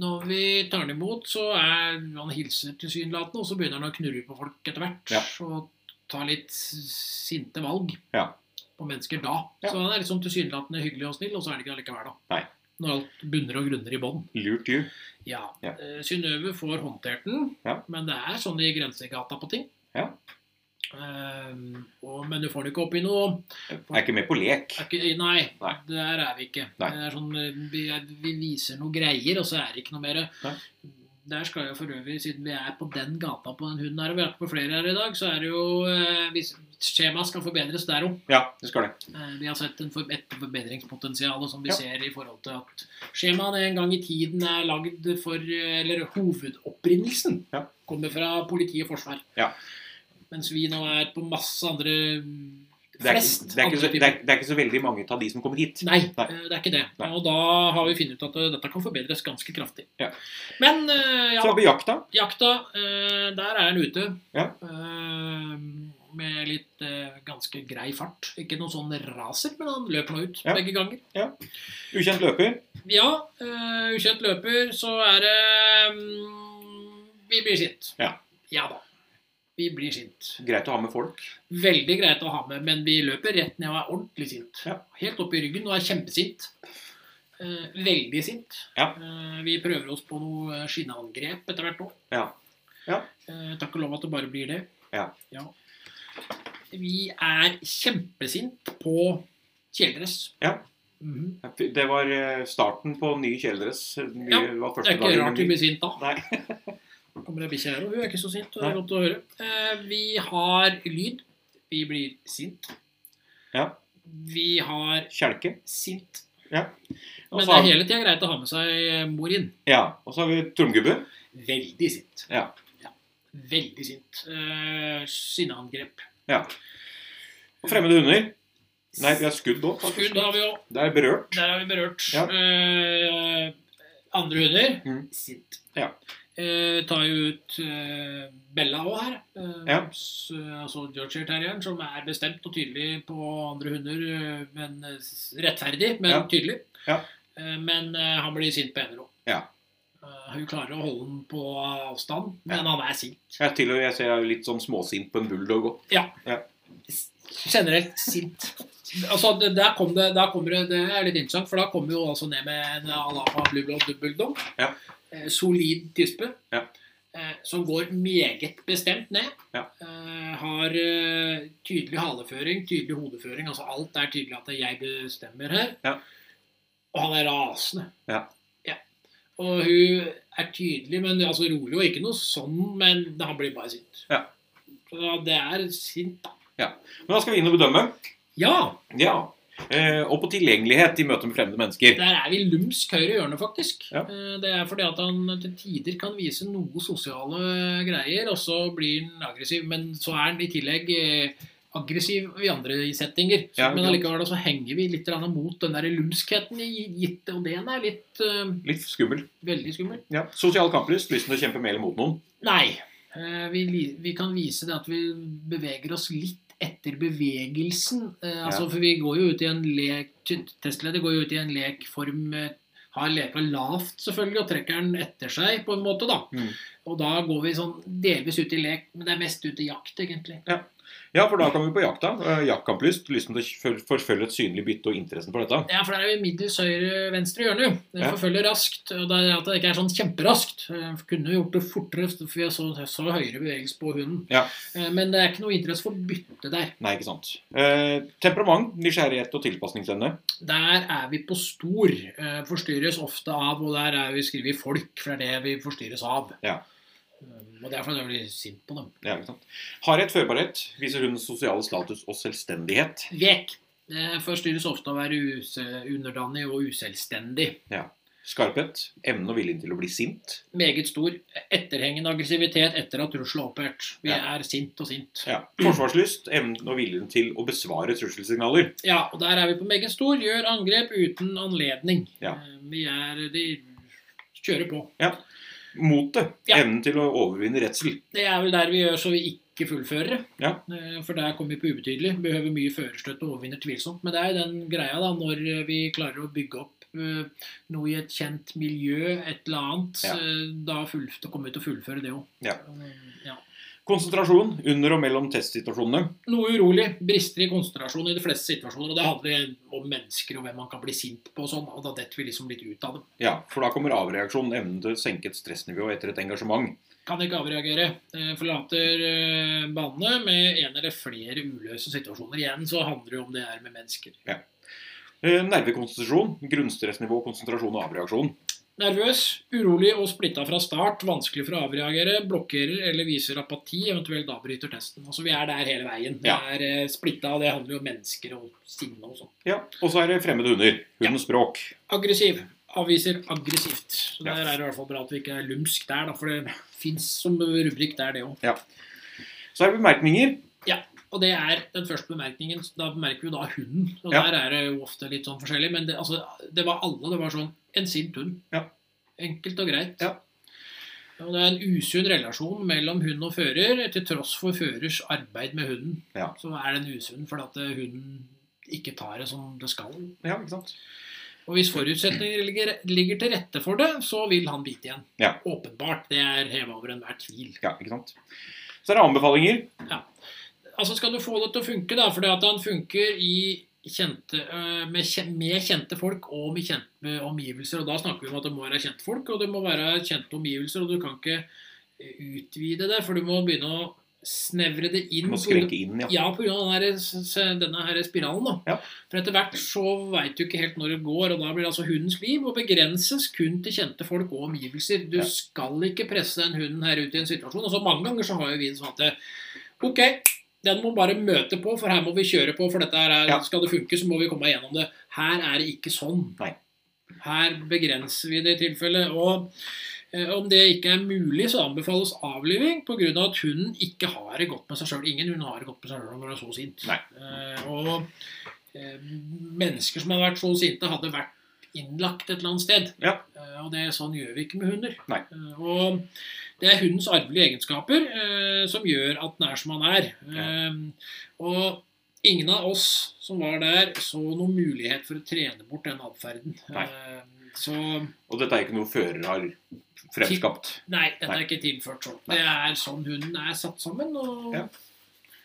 B: når vi tar den imot, så er han hilser tilsynelatende, og så begynner han å knurre på folk etter hvert.
A: Ja.
B: Og ta litt sinte valg
A: Ja.
B: på mennesker da.
A: Ja.
B: Så han er liksom tilsynelatende hyggelig og snill, og så er det ikke allikevel, da.
A: Nei.
B: Når alt bunner og grunner i bånn.
A: (laughs) Lurt you.
B: Ja.
A: Ja.
B: Eh, Synnøve får håndtert den,
A: Ja.
B: men det er sånn i grensegata på ting.
A: Ja.
B: Ehm, og, men du får den ikke opp i noe
A: Jeg er ikke med på lek.
B: er ikke, nei,
A: Nei.
B: der er vi ikke.
A: Nei.
B: Det er sånn, eh, vi, er- vi viser noe greier, og så er det ikke noe mer.
A: Nei.
B: Der skal jeg for øvrig, siden vi er på den gata på den hunden her, og vi har vært på flere her i dag, så er det jo eh, hvis- Skjemaet skal forbedres der òg.
A: Ja, det skal det.
B: Eh, Vi har sett en for, et forbedringspotensial som vi
A: Ja.
B: ser i forhold til at skjemaene en gang i tiden er lagd for eh, Eller hovedopprinnelsen
A: Ja.
B: kommer fra politi og forsvar.
A: Ja.
B: Mens vi nå er på masse andre
A: Det er,
B: flest
A: ikke- det, er ikke
B: andre
A: så,
B: typer-
A: det, er, det er ikke så veldig mange av de som kommer hit.
B: Nei,
A: Nei.
B: eh, det er ikke det.
A: Nei.
B: Og da har vi funnet ut at eh, dette kan forbedres ganske kraftig.
A: Ja.
B: Men eh, ja,
A: Så har vi jakta.
B: jakta, eh, der er den ute.
A: Ja.
B: Eh, Med litt eh, ganske grei fart. Ikke noen sånn raser, men han løper nå ut
A: Ja.
B: begge ganger.
A: Ukjent løper.
B: Ja, eh, ukjent løper, så er det mm, Vi blir sint.
A: Ja.
B: ja da. Vi blir sint.
A: Greit å ha med folk.
B: Veldig greit å ha med, men vi løper rett ned og er ordentlig sint.
A: Ja.
B: Helt opp i ryggen og er kjempesint. Eh, veldig sint.
A: Ja.
B: Eh, vi prøver oss på noe eh, skinneangrep etter hvert nå.
A: Ja. Ja.
B: Eh, takk og lov at det bare blir det.
A: Ja.
B: Vi er kjempesint på kjeledress.
A: Ja.
B: Mhm.
A: Det var eh, starten på ny kjeledress. Mye
B: Ja,
A: var
B: Det er
A: første
B: ikke
A: dagen,
B: rart
A: men-
B: vi blir sint da. (laughs)
A: Nei.
B: Kommer ei bikkje her, og hun er ikke så sint. Og det er
A: Nei.
B: godt å høre. Eh, vi har lyd. Vi blir sint.
A: Ja.
B: Vi har
A: Kjelke.
B: sint.
A: Og så
B: Men det er
A: har,
B: hele tida greit å ha med seg mor inn.
A: ja, og så har vi Tromgubbe.
B: Veldig sint.
A: Ja.
B: Ja. Veldig sint. Eh, sinneangrep.
A: Og fremmede hunder. Nei, vi har skudd òg.
B: Skudd har vi òg.
A: Det er berørt.
B: Der har vi berørt.
A: Ja.
B: Eh, andre hunder
A: Mm.
B: sint.
A: Ja.
B: Eh, tar jo ut eh, Bella òg her. Eh,
A: Ja.
B: s- altså Georgia Terrieren, som er bestemt og tydelig på andre hunder. eh, Men eh, s- rettferdig, men
A: Ja.
B: tydelig.
A: Ja.
B: Eh, men eh, han blir sint på henne òg.
A: Ja.
B: Eh, hun klarer å holde den på avstand, men
A: Ja.
B: han er sint.
A: Jeg, til og med, jeg ser jeg er litt sånn småsint på en bulldog òg.
B: generelt sint. Altså, det, der kom det, der kommer det, det er litt interessant, for da kom vi jo altså ned med en Alapa Blue Blood Bulldog.
A: Ja.
B: Eh, solid tispe.
A: Ja.
B: Eh, som går meget bestemt ned.
A: Ja.
B: Eh, har eh, tydelig haleføring, tydelig hodeføring. Altså alt er tydelig at det er jeg bestemmer her.
A: Ja.
B: Og han er rasende.
A: Ja.
B: Ja. Og hun er tydelig, men altså rolig og ikke noe sånn, men han blir bare sint.
A: Ja.
B: Så det er sint, da.
A: Men da skal vi inn og bedømme.
B: Ja!
A: Ja. Eh, og på tilgjengelighet i møte med fremmede mennesker.
B: Der er vi lumsk høyre i hjørnet, faktisk.
A: Ja.
B: Eh, Det er fordi at han til tider kan vise noe sosiale greier, og så blir han aggressiv. Men så er han i tillegg eh, aggressiv i andre settinger. Så,
A: Ja,
B: men
A: ja.
B: allikevel så henger vi litt grann mot den der lumskheten i gitte, og den er litt eh,
A: Litt skummel.
B: veldig skummel.
A: Ja. Sosial kamplyst. Lysten til å kjempe med eller mot noen.
B: Nei. eh, Vi, li- vi kan vise det at vi beveger oss litt etter bevegelsen. Eh, altså, For vi går jo ut i en lek Testleder går jo ut i en lekform eh, Har leka lavt, selvfølgelig, og trekker den etter seg, på en måte, da.
A: Mm.
B: Og da går vi sånn delvis ut i lek, men det er mest ut i jakt, egentlig.
A: Ja, for da kan vi på jakta. Eh, jaktkamplyst. Lysten til å for- forfølge et synlig bytte og interessen for dette.
B: Ja, for der er jo middels høyre-venstre hjørne. jo. Den
A: Ja.
B: forfølger raskt. og det er At det ikke er sånn kjemperaskt. Jeg kunne gjort det fortere, for jeg så, så høyere bevegelse på hunden.
A: Ja.
B: Eh, Men det er ikke noe interesse for bytte der.
A: Nei, ikke sant. Eh, temperament, nysgjerrighet og tilpasningsevne.
B: Der er vi på stor. eh, Forstyrres ofte av, og der er vi skriver folk, for det er det vi forstyrres av.
A: Ja.
B: Um, Og det er fordi jeg blir sint på dem.
A: Ja, ikke sant? Hardhet, førbarhet, viser hundens sosiale status og selvstendighet.
B: Vek. Det forstyrres ofte av å være use, underdanig og uselvstendig.
A: Skarphet, evnen og viljen til å bli sint.
B: Meget stor etterhengende aggressivitet etter at trusselen er opphørt. Vi
A: Ja.
B: er sint og sint.
A: Ja. Forsvarslyst, evnen og viljen til å besvare trusselsignaler.
B: Ja, og der er vi på meget stor. Gjør angrep uten anledning.
A: Ja.
B: Eh, Vi er De kjører på.
A: Motet,
B: Ja.
A: evnen til å overvinne redsel.
B: Det er vel der vi gjør så vi ikke fullfører. det.
A: Ja.
B: Eh, For der kommer vi på ubetydelig. Behøver mye førerstøtte og overvinner tvilsomt. Men det er jo den greia, da, når eh, vi klarer å bygge opp eh, noe i et kjent miljø, et eller annet,
A: Ja.
B: eh, da, full, da kommer vi til å fullføre det òg.
A: Ja.
B: ja.
A: Konsentrasjon under og mellom testsituasjonene.
B: Noe urolig. Brister i konsentrasjon i de fleste situasjoner. Og det handler om mennesker og hvem man kan bli sint på og sånn. Og da detter vi liksom litt ut av det.
A: Ja, for da kommer avreaksjonen, evnen til å senke et stressnivå etter et engasjement.
B: Kan ikke avreagere. Eh, Forlater eh, banene med en eller flere uløse situasjoner. Igjen så handler det jo om det her med mennesker.
A: Eh, Nervekonstitusjon, grunnstressnivå, konsentrasjon og avreaksjon.
B: Nervøs, urolig og splitta fra start. Vanskelig for å avreagere. Blokkerer eller viser apati, eventuelt avbryter testen. Altså Vi er der hele veien. Det
A: Ja.
B: er eh, splitta, og det handler jo om mennesker og sinne og sånn.
A: Ja, Og så er det fremmede hunder. Hundens språk.
B: Aggressiv. Avviser aggressivt. Så
A: Ja.
B: Der er det i hvert fall bra at vi ikke er lumsk der, da, for det fins som rubrikk der, det òg.
A: Så er det bemerkninger.
B: Og det er den første bemerkningen. så Da bemerker vi jo da hunden. Og
A: Ja.
B: der er det jo ofte litt sånn forskjellig. Men det, altså, det var alle. Det var sånn en sint hund.
A: Ja.
B: Enkelt og greit.
A: Ja.
B: Og det er en usunn relasjon mellom hund og fører. Til tross for førers arbeid med hunden,
A: Ja.
B: så er den usunn fordi at eh, hunden ikke tar det som det skal.
A: Ja, ikke sant?
B: Og hvis forutsetninger ligger, ligger til rette for det, så vil han bite igjen.
A: Ja.
B: Åpenbart. Det er heva over enhver tvil.
A: Ja, ikke sant? Så er det anbefalinger.
B: Altså skal du få det til å funke, da, fordi at han funker i kjente, øh, med, kjen- med kjente folk og med kjente omgivelser. Og da snakker vi om at det må være kjente folk, og det må være kjente omgivelser. Og du kan ikke eh, utvide det, for du må begynne å snevre det inn.
A: Du må
B: på grunn-
A: skrenke inn, ja.
B: ja, pga. denne her spiralen. da.
A: Ja.
B: For etter hvert så veit du ikke helt når det går, og da blir det altså hundens liv og begrenses kun til kjente folk og omgivelser. Du
A: Ja.
B: skal ikke presse den hunden her ut i en situasjon. Og så mange ganger så har jo vi det sånn at eh, Ok, den må bare møte på, for her må vi kjøre på, for dette her er,
A: Ja.
B: skal det funke, så må vi komme gjennom det. Her er det ikke sånn.
A: Nei.
B: Her begrenser vi det i tilfelle. Og eh, om det ikke er mulig, så anbefales avliving pga. Av at hunden ikke har det godt med seg sjøl. Ingen hund har det godt med seg sjøl når den er så sint.
A: Nei.
B: Eh, og eh, mennesker som hadde vært så sinte, hadde vært innlagt et eller annet sted.
A: Ja.
B: Eh, og det sånn gjør vi ikke med hunder.
A: Nei.
B: Eh, og det er hundens arvelige egenskaper eh, som gjør at den er som han er.
A: Ja.
B: Eh, og ingen av oss som var der, så noen mulighet for å trene bort den atferden.
A: Nei.
B: Eh, så
A: Og dette er ikke noe fører har fremskapt.
B: nei, dette
A: Nei.
B: er ikke tilført sånn.
A: Nei.
B: Det er sånn hunden er satt sammen, og
A: Ja.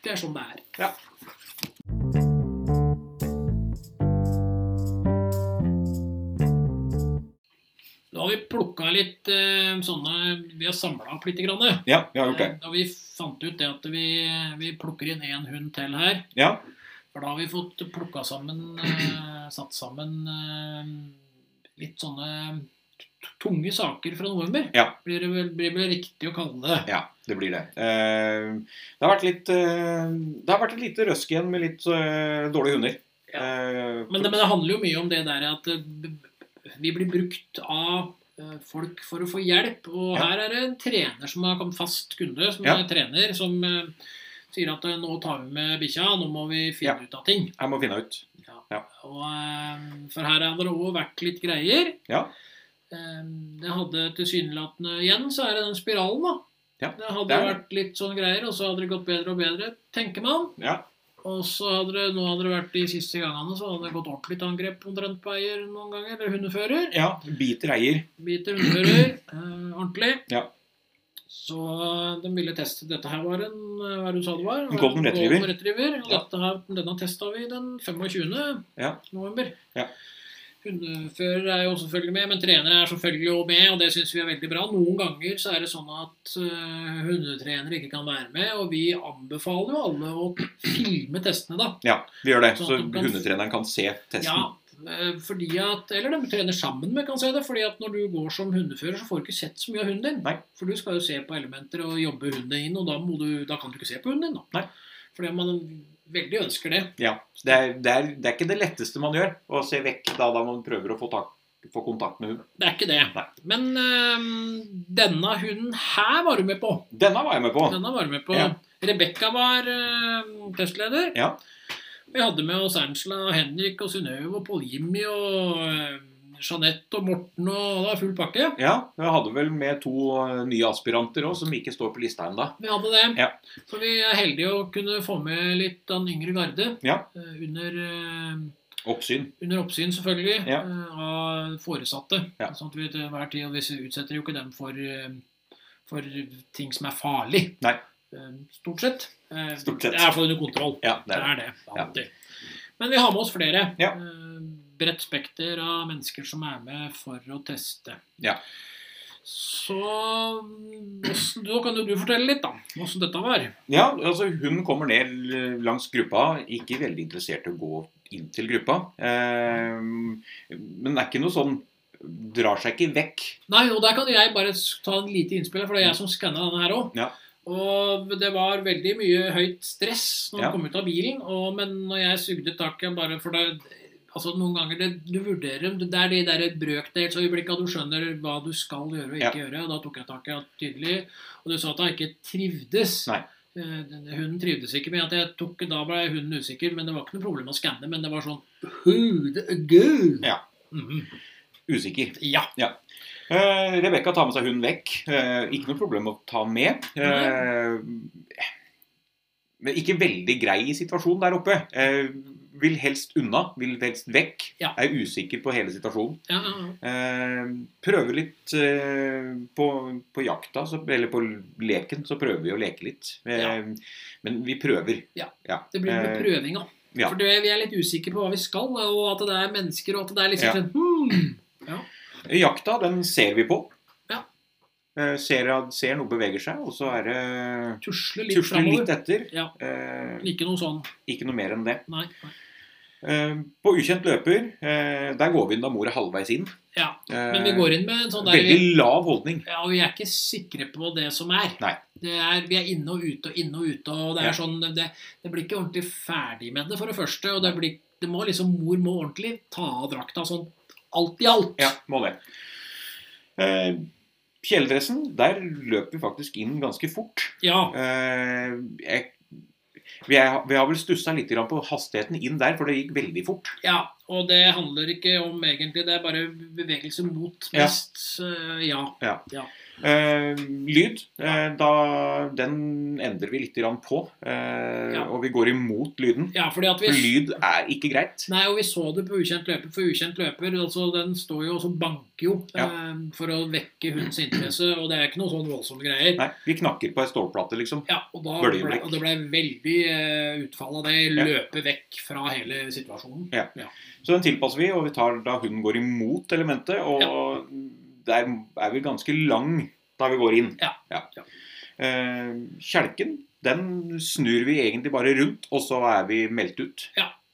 B: det er sånn det er.
A: Ja.
B: Nå har vi plukka litt eh, sånne Vi har samla opp lite grann.
A: Ja, vi har gjort det.
B: Eh, Og vi fant ut det at vi, vi plukker inn én hund til her.
A: Ja,
B: For da har vi fått plukka sammen eh, Satt sammen eh, litt sånne t- tunge saker fra november.
A: Ja.
B: Blir det vel, blir vel riktig å kalle det.
A: ja, det blir det. Eh, Det har vært litt eh, Det har vært et lite røsk igjen med litt eh, dårlige hunder.
B: Ja.
A: Eh,
B: Men det, men det handler jo mye om det der at eh, b- b- vi blir brukt av eh, folk for å få hjelp. Og
A: Ja.
B: her er det en trener som har kommet fast kunde, som
A: Ja.
B: er trener, som eh, sier at eh, nå tar vi med bikkja, nå må vi finne ut av ting.
A: Jeg må finne ut.
B: Og, eh, for her har det òg vært litt greier.
A: Ja.
B: Eh, Det hadde tilsynelatende Igjen så er det den spiralen, da.
A: Ja,
B: det hadde
A: det er det.
B: vært litt sånn greier, og så hadde det gått bedre og bedre, tenker man.
A: Ja,
B: Og så hadde det, nå hadde det vært de siste gangene, så hadde det gått ordentlig til angrep omtrent på eier noen ganger. Eller hundefører.
A: ja biter eier.
B: Biter hundefører eh, ordentlig.
A: Ja.
B: Så de ville teste Dette her var en eh, hva er det du sa det var?
A: En golden retriever.
B: Golden retriever. Og
A: Ja.
B: dette her, denne testa vi den 25.
A: Ja.
B: november.
A: Ja.
B: Hundefører er jo selvfølgelig med, men trenere er selvfølgelig også med, og det syns vi er veldig bra. Noen ganger så er det sånn at eh, hundetrenere ikke kan være med, og vi anbefaler jo alle å filme testene, da.
A: Ja, vi gjør det.
B: Sånn at
A: Så
B: du kan-
A: hundetreneren kan se testen.
B: Ja, Eh, Fordi at, eller de trener sammen med, kan jeg si det. fordi at når du går som hundefører, så får du ikke sett så mye av hunden din.
A: Nei.
B: For du skal jo se på elementer og jobbe hunden inn, og da, må du, da kan du ikke se på hunden din. da.
A: Nei.
B: Fordi man veldig ønsker det.
A: Ja, så det, er, det, er, det er ikke det letteste man gjør, å se vekk da, da man prøver å få, tak, få kontakt med hunden.
B: Det er ikke det.
A: Nei.
B: Men ehm, denne hunden her var du med på.
A: Denne var jeg med på.
B: Denne var du med på.
A: Ja.
B: Rebekka var ehm, testleder.
A: Ja.
B: Vi hadde med oss Ernsla og Henrik og Synnøve og Pål Jimmy og ehm, Jeanette og Morten og det var full pakke.
A: ja, jeg hadde vel med to eh, nye aspiranter òg, som ikke står på lista ennå.
B: Vi hadde det.
A: Ja.
B: Så vi er heldige å kunne få med litt av den yngre garde.
A: Ja.
B: eh, Under, eh,
A: Oppsyn.
B: under oppsyn, selvfølgelig,
A: Ja.
B: eh, av foresatte.
A: Ja.
B: Sånn at vi til hver tid og vi utsetter jo ikke dem for, eh, for ting som er farlig.
A: Nei.
B: Eh, Stort sett. Eh,
A: Stort sett.
B: Det er iallfall under kontroll.
A: Ja, det
B: Det
A: er det.
B: er det. Alltid. Men vi har med oss flere.
A: Ja.
B: Eh, Bredt spekter av mennesker som er med for å teste.
A: Ja.
B: Så mm, hvordan- Da kan jo du fortelle litt, da. Åssen dette var.
A: Ja, altså hun kommer ned l- langs gruppa, ikke veldig interessert i å gå inn til gruppa. Eh, men det er ikke noe sånn Drar seg ikke vekk.
B: Nei, og der kan jeg bare s- ta en lite innspill, for det er jeg som skanna denne her òg.
A: Mm. Ja.
B: Og det var veldig mye høyt stress når
A: Ja.
B: man kom ut av bilen. Og, men når jeg sugde taket bare for det Altså Noen ganger det, du vurderer dem. Det er de der brøkdelsøyeblikkene du skjønner hva du skal gjøre og
A: Ja.
B: ikke gjøre. Og da tok jeg taket tydelig. Og du sa at jeg ikke trivdes.
A: Nei.
B: Eh, den- Hunden trivdes ikke, men at jeg tok, da ble hunden usikker. Men det var ikke noe problem å skanne. Men det var sånn Who the girl?
A: Ja.
B: Mhm.
A: Usikker.
B: ja.
A: Eh, Rebekka tar med seg hunden vekk. Eh, ikke noe problem å ta med. Eh, men ikke veldig grei i situasjonen der oppe. Eh, vil helst unna, vil helst vekk.
B: Ja.
A: Er usikker på hele situasjonen.
B: ja, ja, ja.
A: Eh, prøver litt eh, på, på jakta, så, eller på leken, så prøver vi å leke litt. Eh,
B: Ja.
A: Men vi prøver.
B: Det blir med
A: Eh,
B: prøvinga.
A: ja.
B: For det, vi er litt usikre på hva vi skal, og at det er mennesker, og at det er
A: Ja.
B: liksom sånn, hmm.
A: Jakta, den ser vi på.
B: Ja.
A: Eh, ser, ser noe beveger seg, og så er det
B: Tusle litt
A: Tusler
B: framover.
A: litt etter.
B: Ja.
A: Eh,
B: Ikke noe sånn
A: ikke noe mer enn det.
B: Nei. nei.
A: Eh, på ukjent løper, eh, der går vi inn da mor er halvveis inn.
B: Ja.
A: Eh,
B: Men vi går inn med en sånn der vi,
A: Veldig lav holdning.
B: ja, og vi er ikke sikre på det som er.
A: Nei.
B: Det er vi er inne og ute og inne og ute, og det
A: Ja.
B: er sånn det, det blir ikke ordentlig ferdig med det, for det første. Og det blir det må liksom, Mor må ordentlig ta av drakta sånn alt i alt.
A: Ja, må det. Eh, kjeledressen, der løper vi faktisk inn ganske fort.
B: Ja.
A: Eh, jeg, vi, er, vi har vel stussa litt grann på hastigheten inn der, for det gikk veldig fort.
B: Ja, og det handler ikke om egentlig, det er bare bevegelse mot
A: Ja.
B: mest. eh, ja.
A: Eh, lyd, eh, da, den endrer vi litt grann på. Eh,
B: Ja.
A: Og vi går imot lyden.
B: ja, fordi at vi
A: For lyd er ikke greit.
B: Nei, og vi så det på ukjent løper, for ukjent løper altså, den står jo og så banker jo
A: Ja.
B: eh, for å vekke hundens interesse, og det er ikke noe sånn voldsomme greier.
A: Nei, vi knakker på ei stålplate, liksom.
B: Ja, og, da ble,
A: Bølgeblikk.
B: og det ble veldig eh, utfall av det.
A: Ja.
B: Løpe vekk fra hele situasjonen.
A: Så den tilpasser vi, og vi tar da hunden går imot elementet, og der er vi ganske lang da vi går inn.
B: Ja. Ja.
A: Eh, kjelken, den snur vi egentlig bare rundt, og så er vi meldt ut.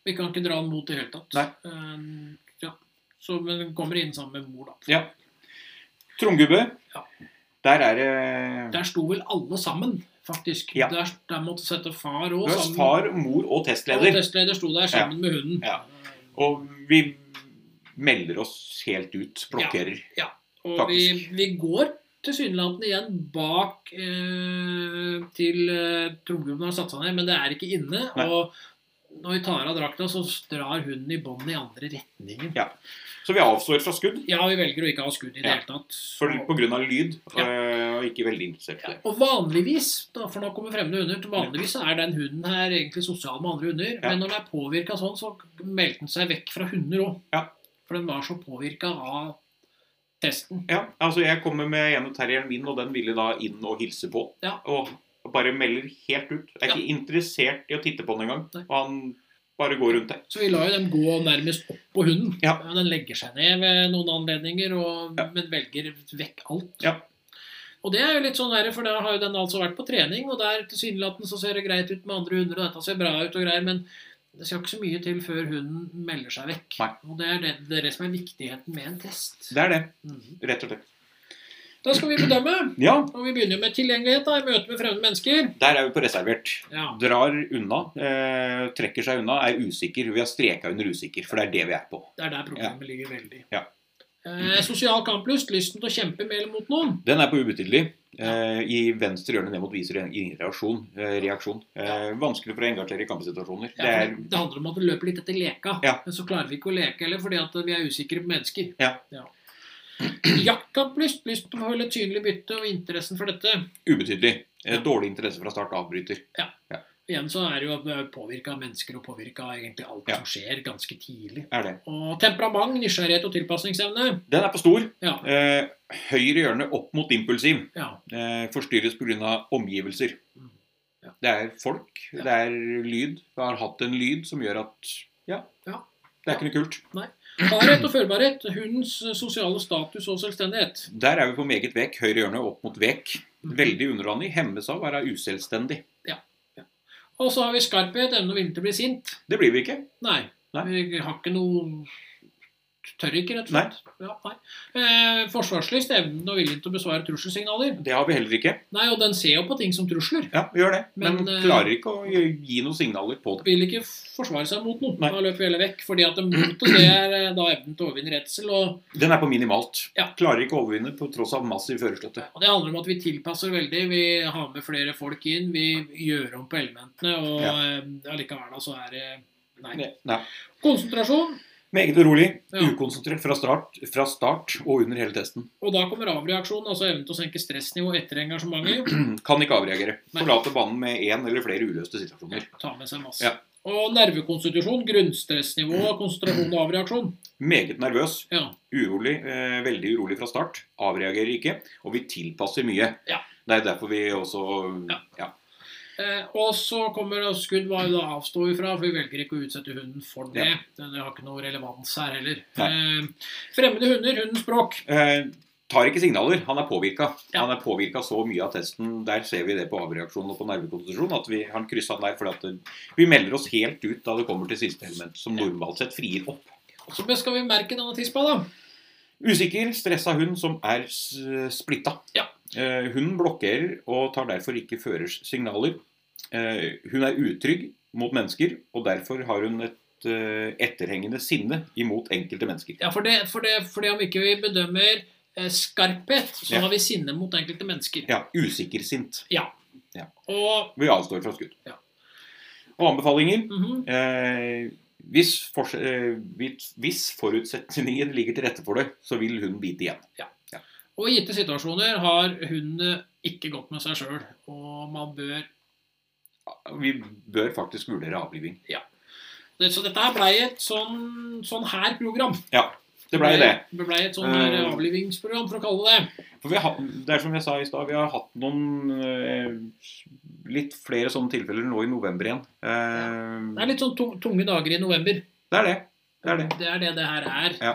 B: Vi kan ikke dra den mot i det hele tatt.
A: Nei.
B: Eh, ja. Så men den kommer inn sammen med mor, da.
A: Ja. Tromgubbe,
B: Ja.
A: der er det
B: Der sto vel alle sammen, faktisk.
A: Ja.
B: Der, der måtte sette far òg
A: løs
B: sammen.
A: far, mor og
B: Og
A: testleder.
B: testleder sto der sammen med hunden. Eh,
A: Ja. Og vi melder oss helt ut, blokkerer.
B: Og vi,
A: Faktisk.
B: vi går tilsynelatende igjen bak eh, til eh, trommegubben har satt seg ned, men det er ikke inne.
A: Nei.
B: Og når vi tar av drakta, så drar hunden i bånd i andre retningen.
A: Så vi avstår fra skudd
B: Ja, vi velger å ikke ha skudd i det
A: Ja.
B: hele tatt.
A: for, på grunn av lyd,
B: Ja.
A: eh, og ikke veldig interessert i
B: Ja,
A: det.
B: og vanligvis, da, for nå kommer fremmede hunder, til vanligvis så er den hunden her egentlig sosial med andre hunder.
A: Ja.
B: Men når den er påvirka sånn, så meldte den seg vekk fra hunder òg.
A: Ja.
B: For den var så påvirka av testen.
A: Ja, altså jeg kommer med ene terrieren min, og den ville da inn og hilse på.
B: Ja.
A: Og bare melder helt ut. Er ikke interessert i å titte på den engang.
B: Nei.
A: Og han bare går rundt der.
B: Så vi lar jo dem gå nærmest opp på hunden.
A: Ja.
B: Den legger seg ned ved noen anledninger, og,
A: Ja.
B: men velger vekk alt.
A: Ja.
B: Og det er jo litt sånn verre, for da har jo den altså vært på trening, og der tilsynelatende så ser det greit ut med andre hunder, og dette ser bra ut og greier, men Det skal ikke så mye til før hunden melder seg vekk.
A: Nei.
B: Og det er det, det er det som er viktigheten med en test.
A: Det er det,
B: Mhm.
A: rett og slett.
B: Da skal vi bedømme.
A: Ja,
B: Og vi begynner med tilgjengelighet da, i møte med fremmede mennesker.
A: der er vi på reservert.
B: Ja.
A: Drar unna, eh, trekker seg unna, er usikker. Vi har streka under usikker, for det er det vi er på.
B: Det er der problemet ligger veldig.
A: Ja.
B: Eh, sosial kamplyst, lysten til å kjempe med eller mot noen.
A: Den er på ubetydelig. Eh, I venstre hjørne ned mot viser en ingen reaksjon. Eh, reaksjon. Eh, vanskelig for å engasjere i kampsituasjoner.
B: Ja,
A: Det er,
B: for det, det handler om at vi løper litt etter leka,
A: Ja.
B: men så klarer vi ikke å leke heller fordi at vi er usikre på mennesker.
A: Ja.
B: (clears throat) Jaktkamplyst, lyst til å holde tydelig bytte og interessen for dette.
A: ubetydelig. Eh, dårlig interesse fra start avbryter.
B: Igjen så er det jo påvirka av mennesker og påvirka av egentlig alt
A: Ja.
B: som skjer, ganske tidlig.
A: Er det.
B: Og temperament, nysgjerrighet og tilpasningsevne.
A: Den er på stor.
B: Ja.
A: Eh, høyre hjørne opp mot impulsiv.
B: ja.
A: Eh, forstyrres pga. omgivelser.
B: Mm. Ja.
A: Det er folk,
B: Ja.
A: det er lyd. Det har hatt en lyd som gjør at Ja.
B: Ja.
A: Det er ikke noe kult.
B: Hardhet og følbarhet. Hundens sosiale status og selvstendighet.
A: Der er vi på meget vek. Høyre hjørne opp mot vek.
B: Mhm.
A: Veldig underdanig. Hemmes av å være uselvstendig.
B: Og så har vi skarphet, evne og vilje til å bli sint.
A: Det blir vi ikke.
B: Nei.
A: Nei.
B: Vi har ikke noe Tør ikke, rett og slett. Ja, nei. Eh, forsvarslyst, evnen og viljen til å besvare trusselsignaler.
A: Det har vi heller ikke.
B: Nei, og den ser jo på ting som trusler.
A: Ja, vi gjør det. Men,
B: Men, eh,
A: klarer ikke å gi gi noen signaler på det.
B: Vil ikke forsvare seg mot noe.
A: Nei.
B: Da løper vi heller vekk. Fordi at det motet det er eh, da evnen til å overvinne redsel. Og,
A: Den er på minimalt.
B: Ja.
A: Klarer ikke å overvinne på tross av massiv førerstøtte.
B: og det handler om at vi tilpasser veldig. Vi har med flere folk inn. Vi gjør om på elementene. Og
A: Ja.
B: eh, allikevel da så er det Nei.
A: Ne- Nei.
B: Konsentrasjon.
A: Meget urolig.
B: Ja.
A: Ukonsentrert fra start, fra start og under hele testen. (clears throat)
B: Og da kommer avreaksjonen, altså evnen til å senke stressnivå etter engasjementet.
A: Kan ikke avreagere.
B: Nei.
A: Forlate banen med én eller flere uløste situasjoner.
B: Ta med seg masse.
A: Ja.
B: Og nervekonstitusjon, grunnstressnivå, konsentrasjon og avreaksjon.
A: Meget nervøs,
B: Ja.
A: urolig, eh, veldig urolig fra start. Avreagerer ikke. Og vi tilpasser mye.
B: Ja.
A: Det er derfor vi også
B: Ja.
A: ja.
B: Eh, og så kommer det skudd hva vi da avstår ifra, for vi velger ikke å utsette hunden for det. Det har ikke noe relevans her heller. Eh, fremmede hunder, hundens språk.
A: Eh, Tar ikke signaler. Han er påvirka.
B: Ja.
A: Han er påvirka så mye av testen. Der ser vi det på avreaksjon og på nervekonstitusjon. at vi, Han kryssa den der fordi at det- vi melder oss helt ut da det kommer til siste element, som normalt sett frier opp.
B: Så skal vi merke denne tispa, da.
A: Usikker, stressa hund som er s- splitta.
B: Ja.
A: Eh, Hunden blokkerer og tar derfor ikke førers signaler. Eh, Hun er utrygg mot mennesker, og derfor har hun et eh, etterhengende sinne imot enkelte mennesker.
B: Ja, for det, for det, for det om ikke vi bedømmer eh, skarphet, så
A: Ja.
B: har vi sinne mot enkelte mennesker.
A: Ja, usikker-sint.
B: Og
A: Vi avstår fra skudd.
B: Ja.
A: Og anbefalinger
B: mhm,
A: eh, hvis, fors- eh, hvis- hvis forutsetningen ligger til rette for det, så vil hun bite igjen.
B: Og i gitte situasjoner har hunden det ikke godt med seg sjøl, og man bør
A: Vi bør faktisk vurdere avliving.
B: Det, så dette her blei et sånn, sånn her program.
A: Det blei det.
B: Det blei et sånn her
A: Eh.
B: avlivingsprogram, for å kalle det det.
A: For vi har, det er som jeg sa i stad, vi har hatt noen eh, litt flere sånne tilfeller nå i november igjen.
B: Det er
A: Eh,
B: litt sånn tung- tunge dager i november.
A: det er det. Det er det.
B: Det er det det her er.
A: Ja.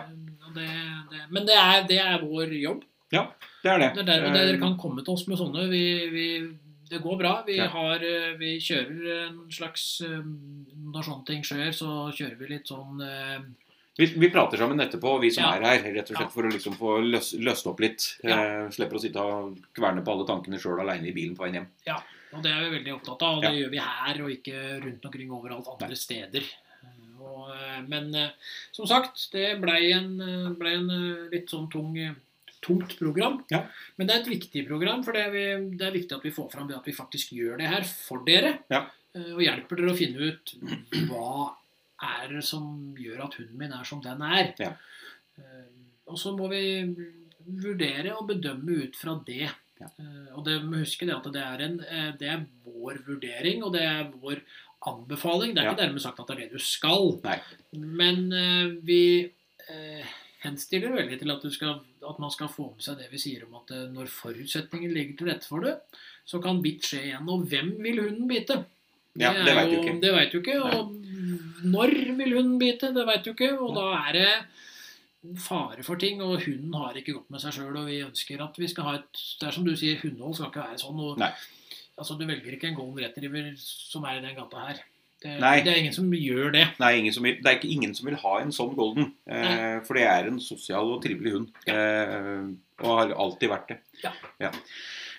B: Og Det, det, men det er, det er vår jobb.
A: Det er det.
B: Det er der, og
A: Eh,
B: dere kan komme til oss med sånne. Vi, vi, det går bra. Vi,
A: Ja.
B: har, eh, vi kjører en slags eh, Når sånne ting skjer, så kjører vi litt sånn eh,
A: vi, vi prater sammen etterpå, vi som
B: Ja.
A: er her, rett og
B: Ja.
A: slett for å liksom få løs, løst opp litt.
B: Ja.
A: Eh, slipper å sitte og kverne på alle tankene sjøl aleine i bilen på veien hjem.
B: Og det er vi veldig opptatt av, og det gjør vi her og ikke rundt omkring overalt andre steder. Eh, Og, eh, men eh, som sagt, det blei en, eh, ble en eh, litt sånn tung, eh, tungt program.
A: Ja.
B: Men det er et viktig program, for det er, vi, det er viktig at vi får fram det at vi faktisk gjør det her for dere.
A: Ja.
B: eh, Og hjelper dere å finne ut hva er det som gjør at hunden min er som den er.
A: Ja.
B: Eh, Og så må vi vurdere og bedømme ut fra det. Eh, Og det må huske det at det er, en, eh, det er vår vurdering, og det er vår anbefaling. Det er
A: Ja.
B: ikke dermed sagt at det er det du skal.
A: Nei.
B: Men eh, vi eh, henstiller veldig til at, du skal, at man skal få med seg det vi sier om at eh, når forutsetningen ligger til rette for det, så kan bitt skje igjen. Og hvem vil hunden bite?
A: Ja, det
B: er
A: vet du
B: jo-
A: ikke.
B: Eh, Det vet du ikke. Og når vil hunden bite? Det vet du ikke. Og da er det fare for ting, og hunden har ikke godt med seg sjøl. Og vi ønsker at vi skal ha et Det er som du sier, hundehold skal ikke være sånn. Og,
A: Nei.
B: altså, du velger ikke en golden retriever som er i den gata her. Det,
A: Nei.
B: det er ingen som gjør det.
A: Nei, ingen som vil, det er ikke ingen som vil ha en sånn golden. Eh, for det er en sosial og trivelig hund.
B: Ja.
A: Eh, og har alltid vært det.
B: Ja.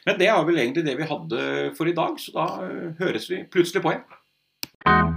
A: Men det er vel egentlig det vi hadde for i dag, så da eh, høres vi plutselig på igjen.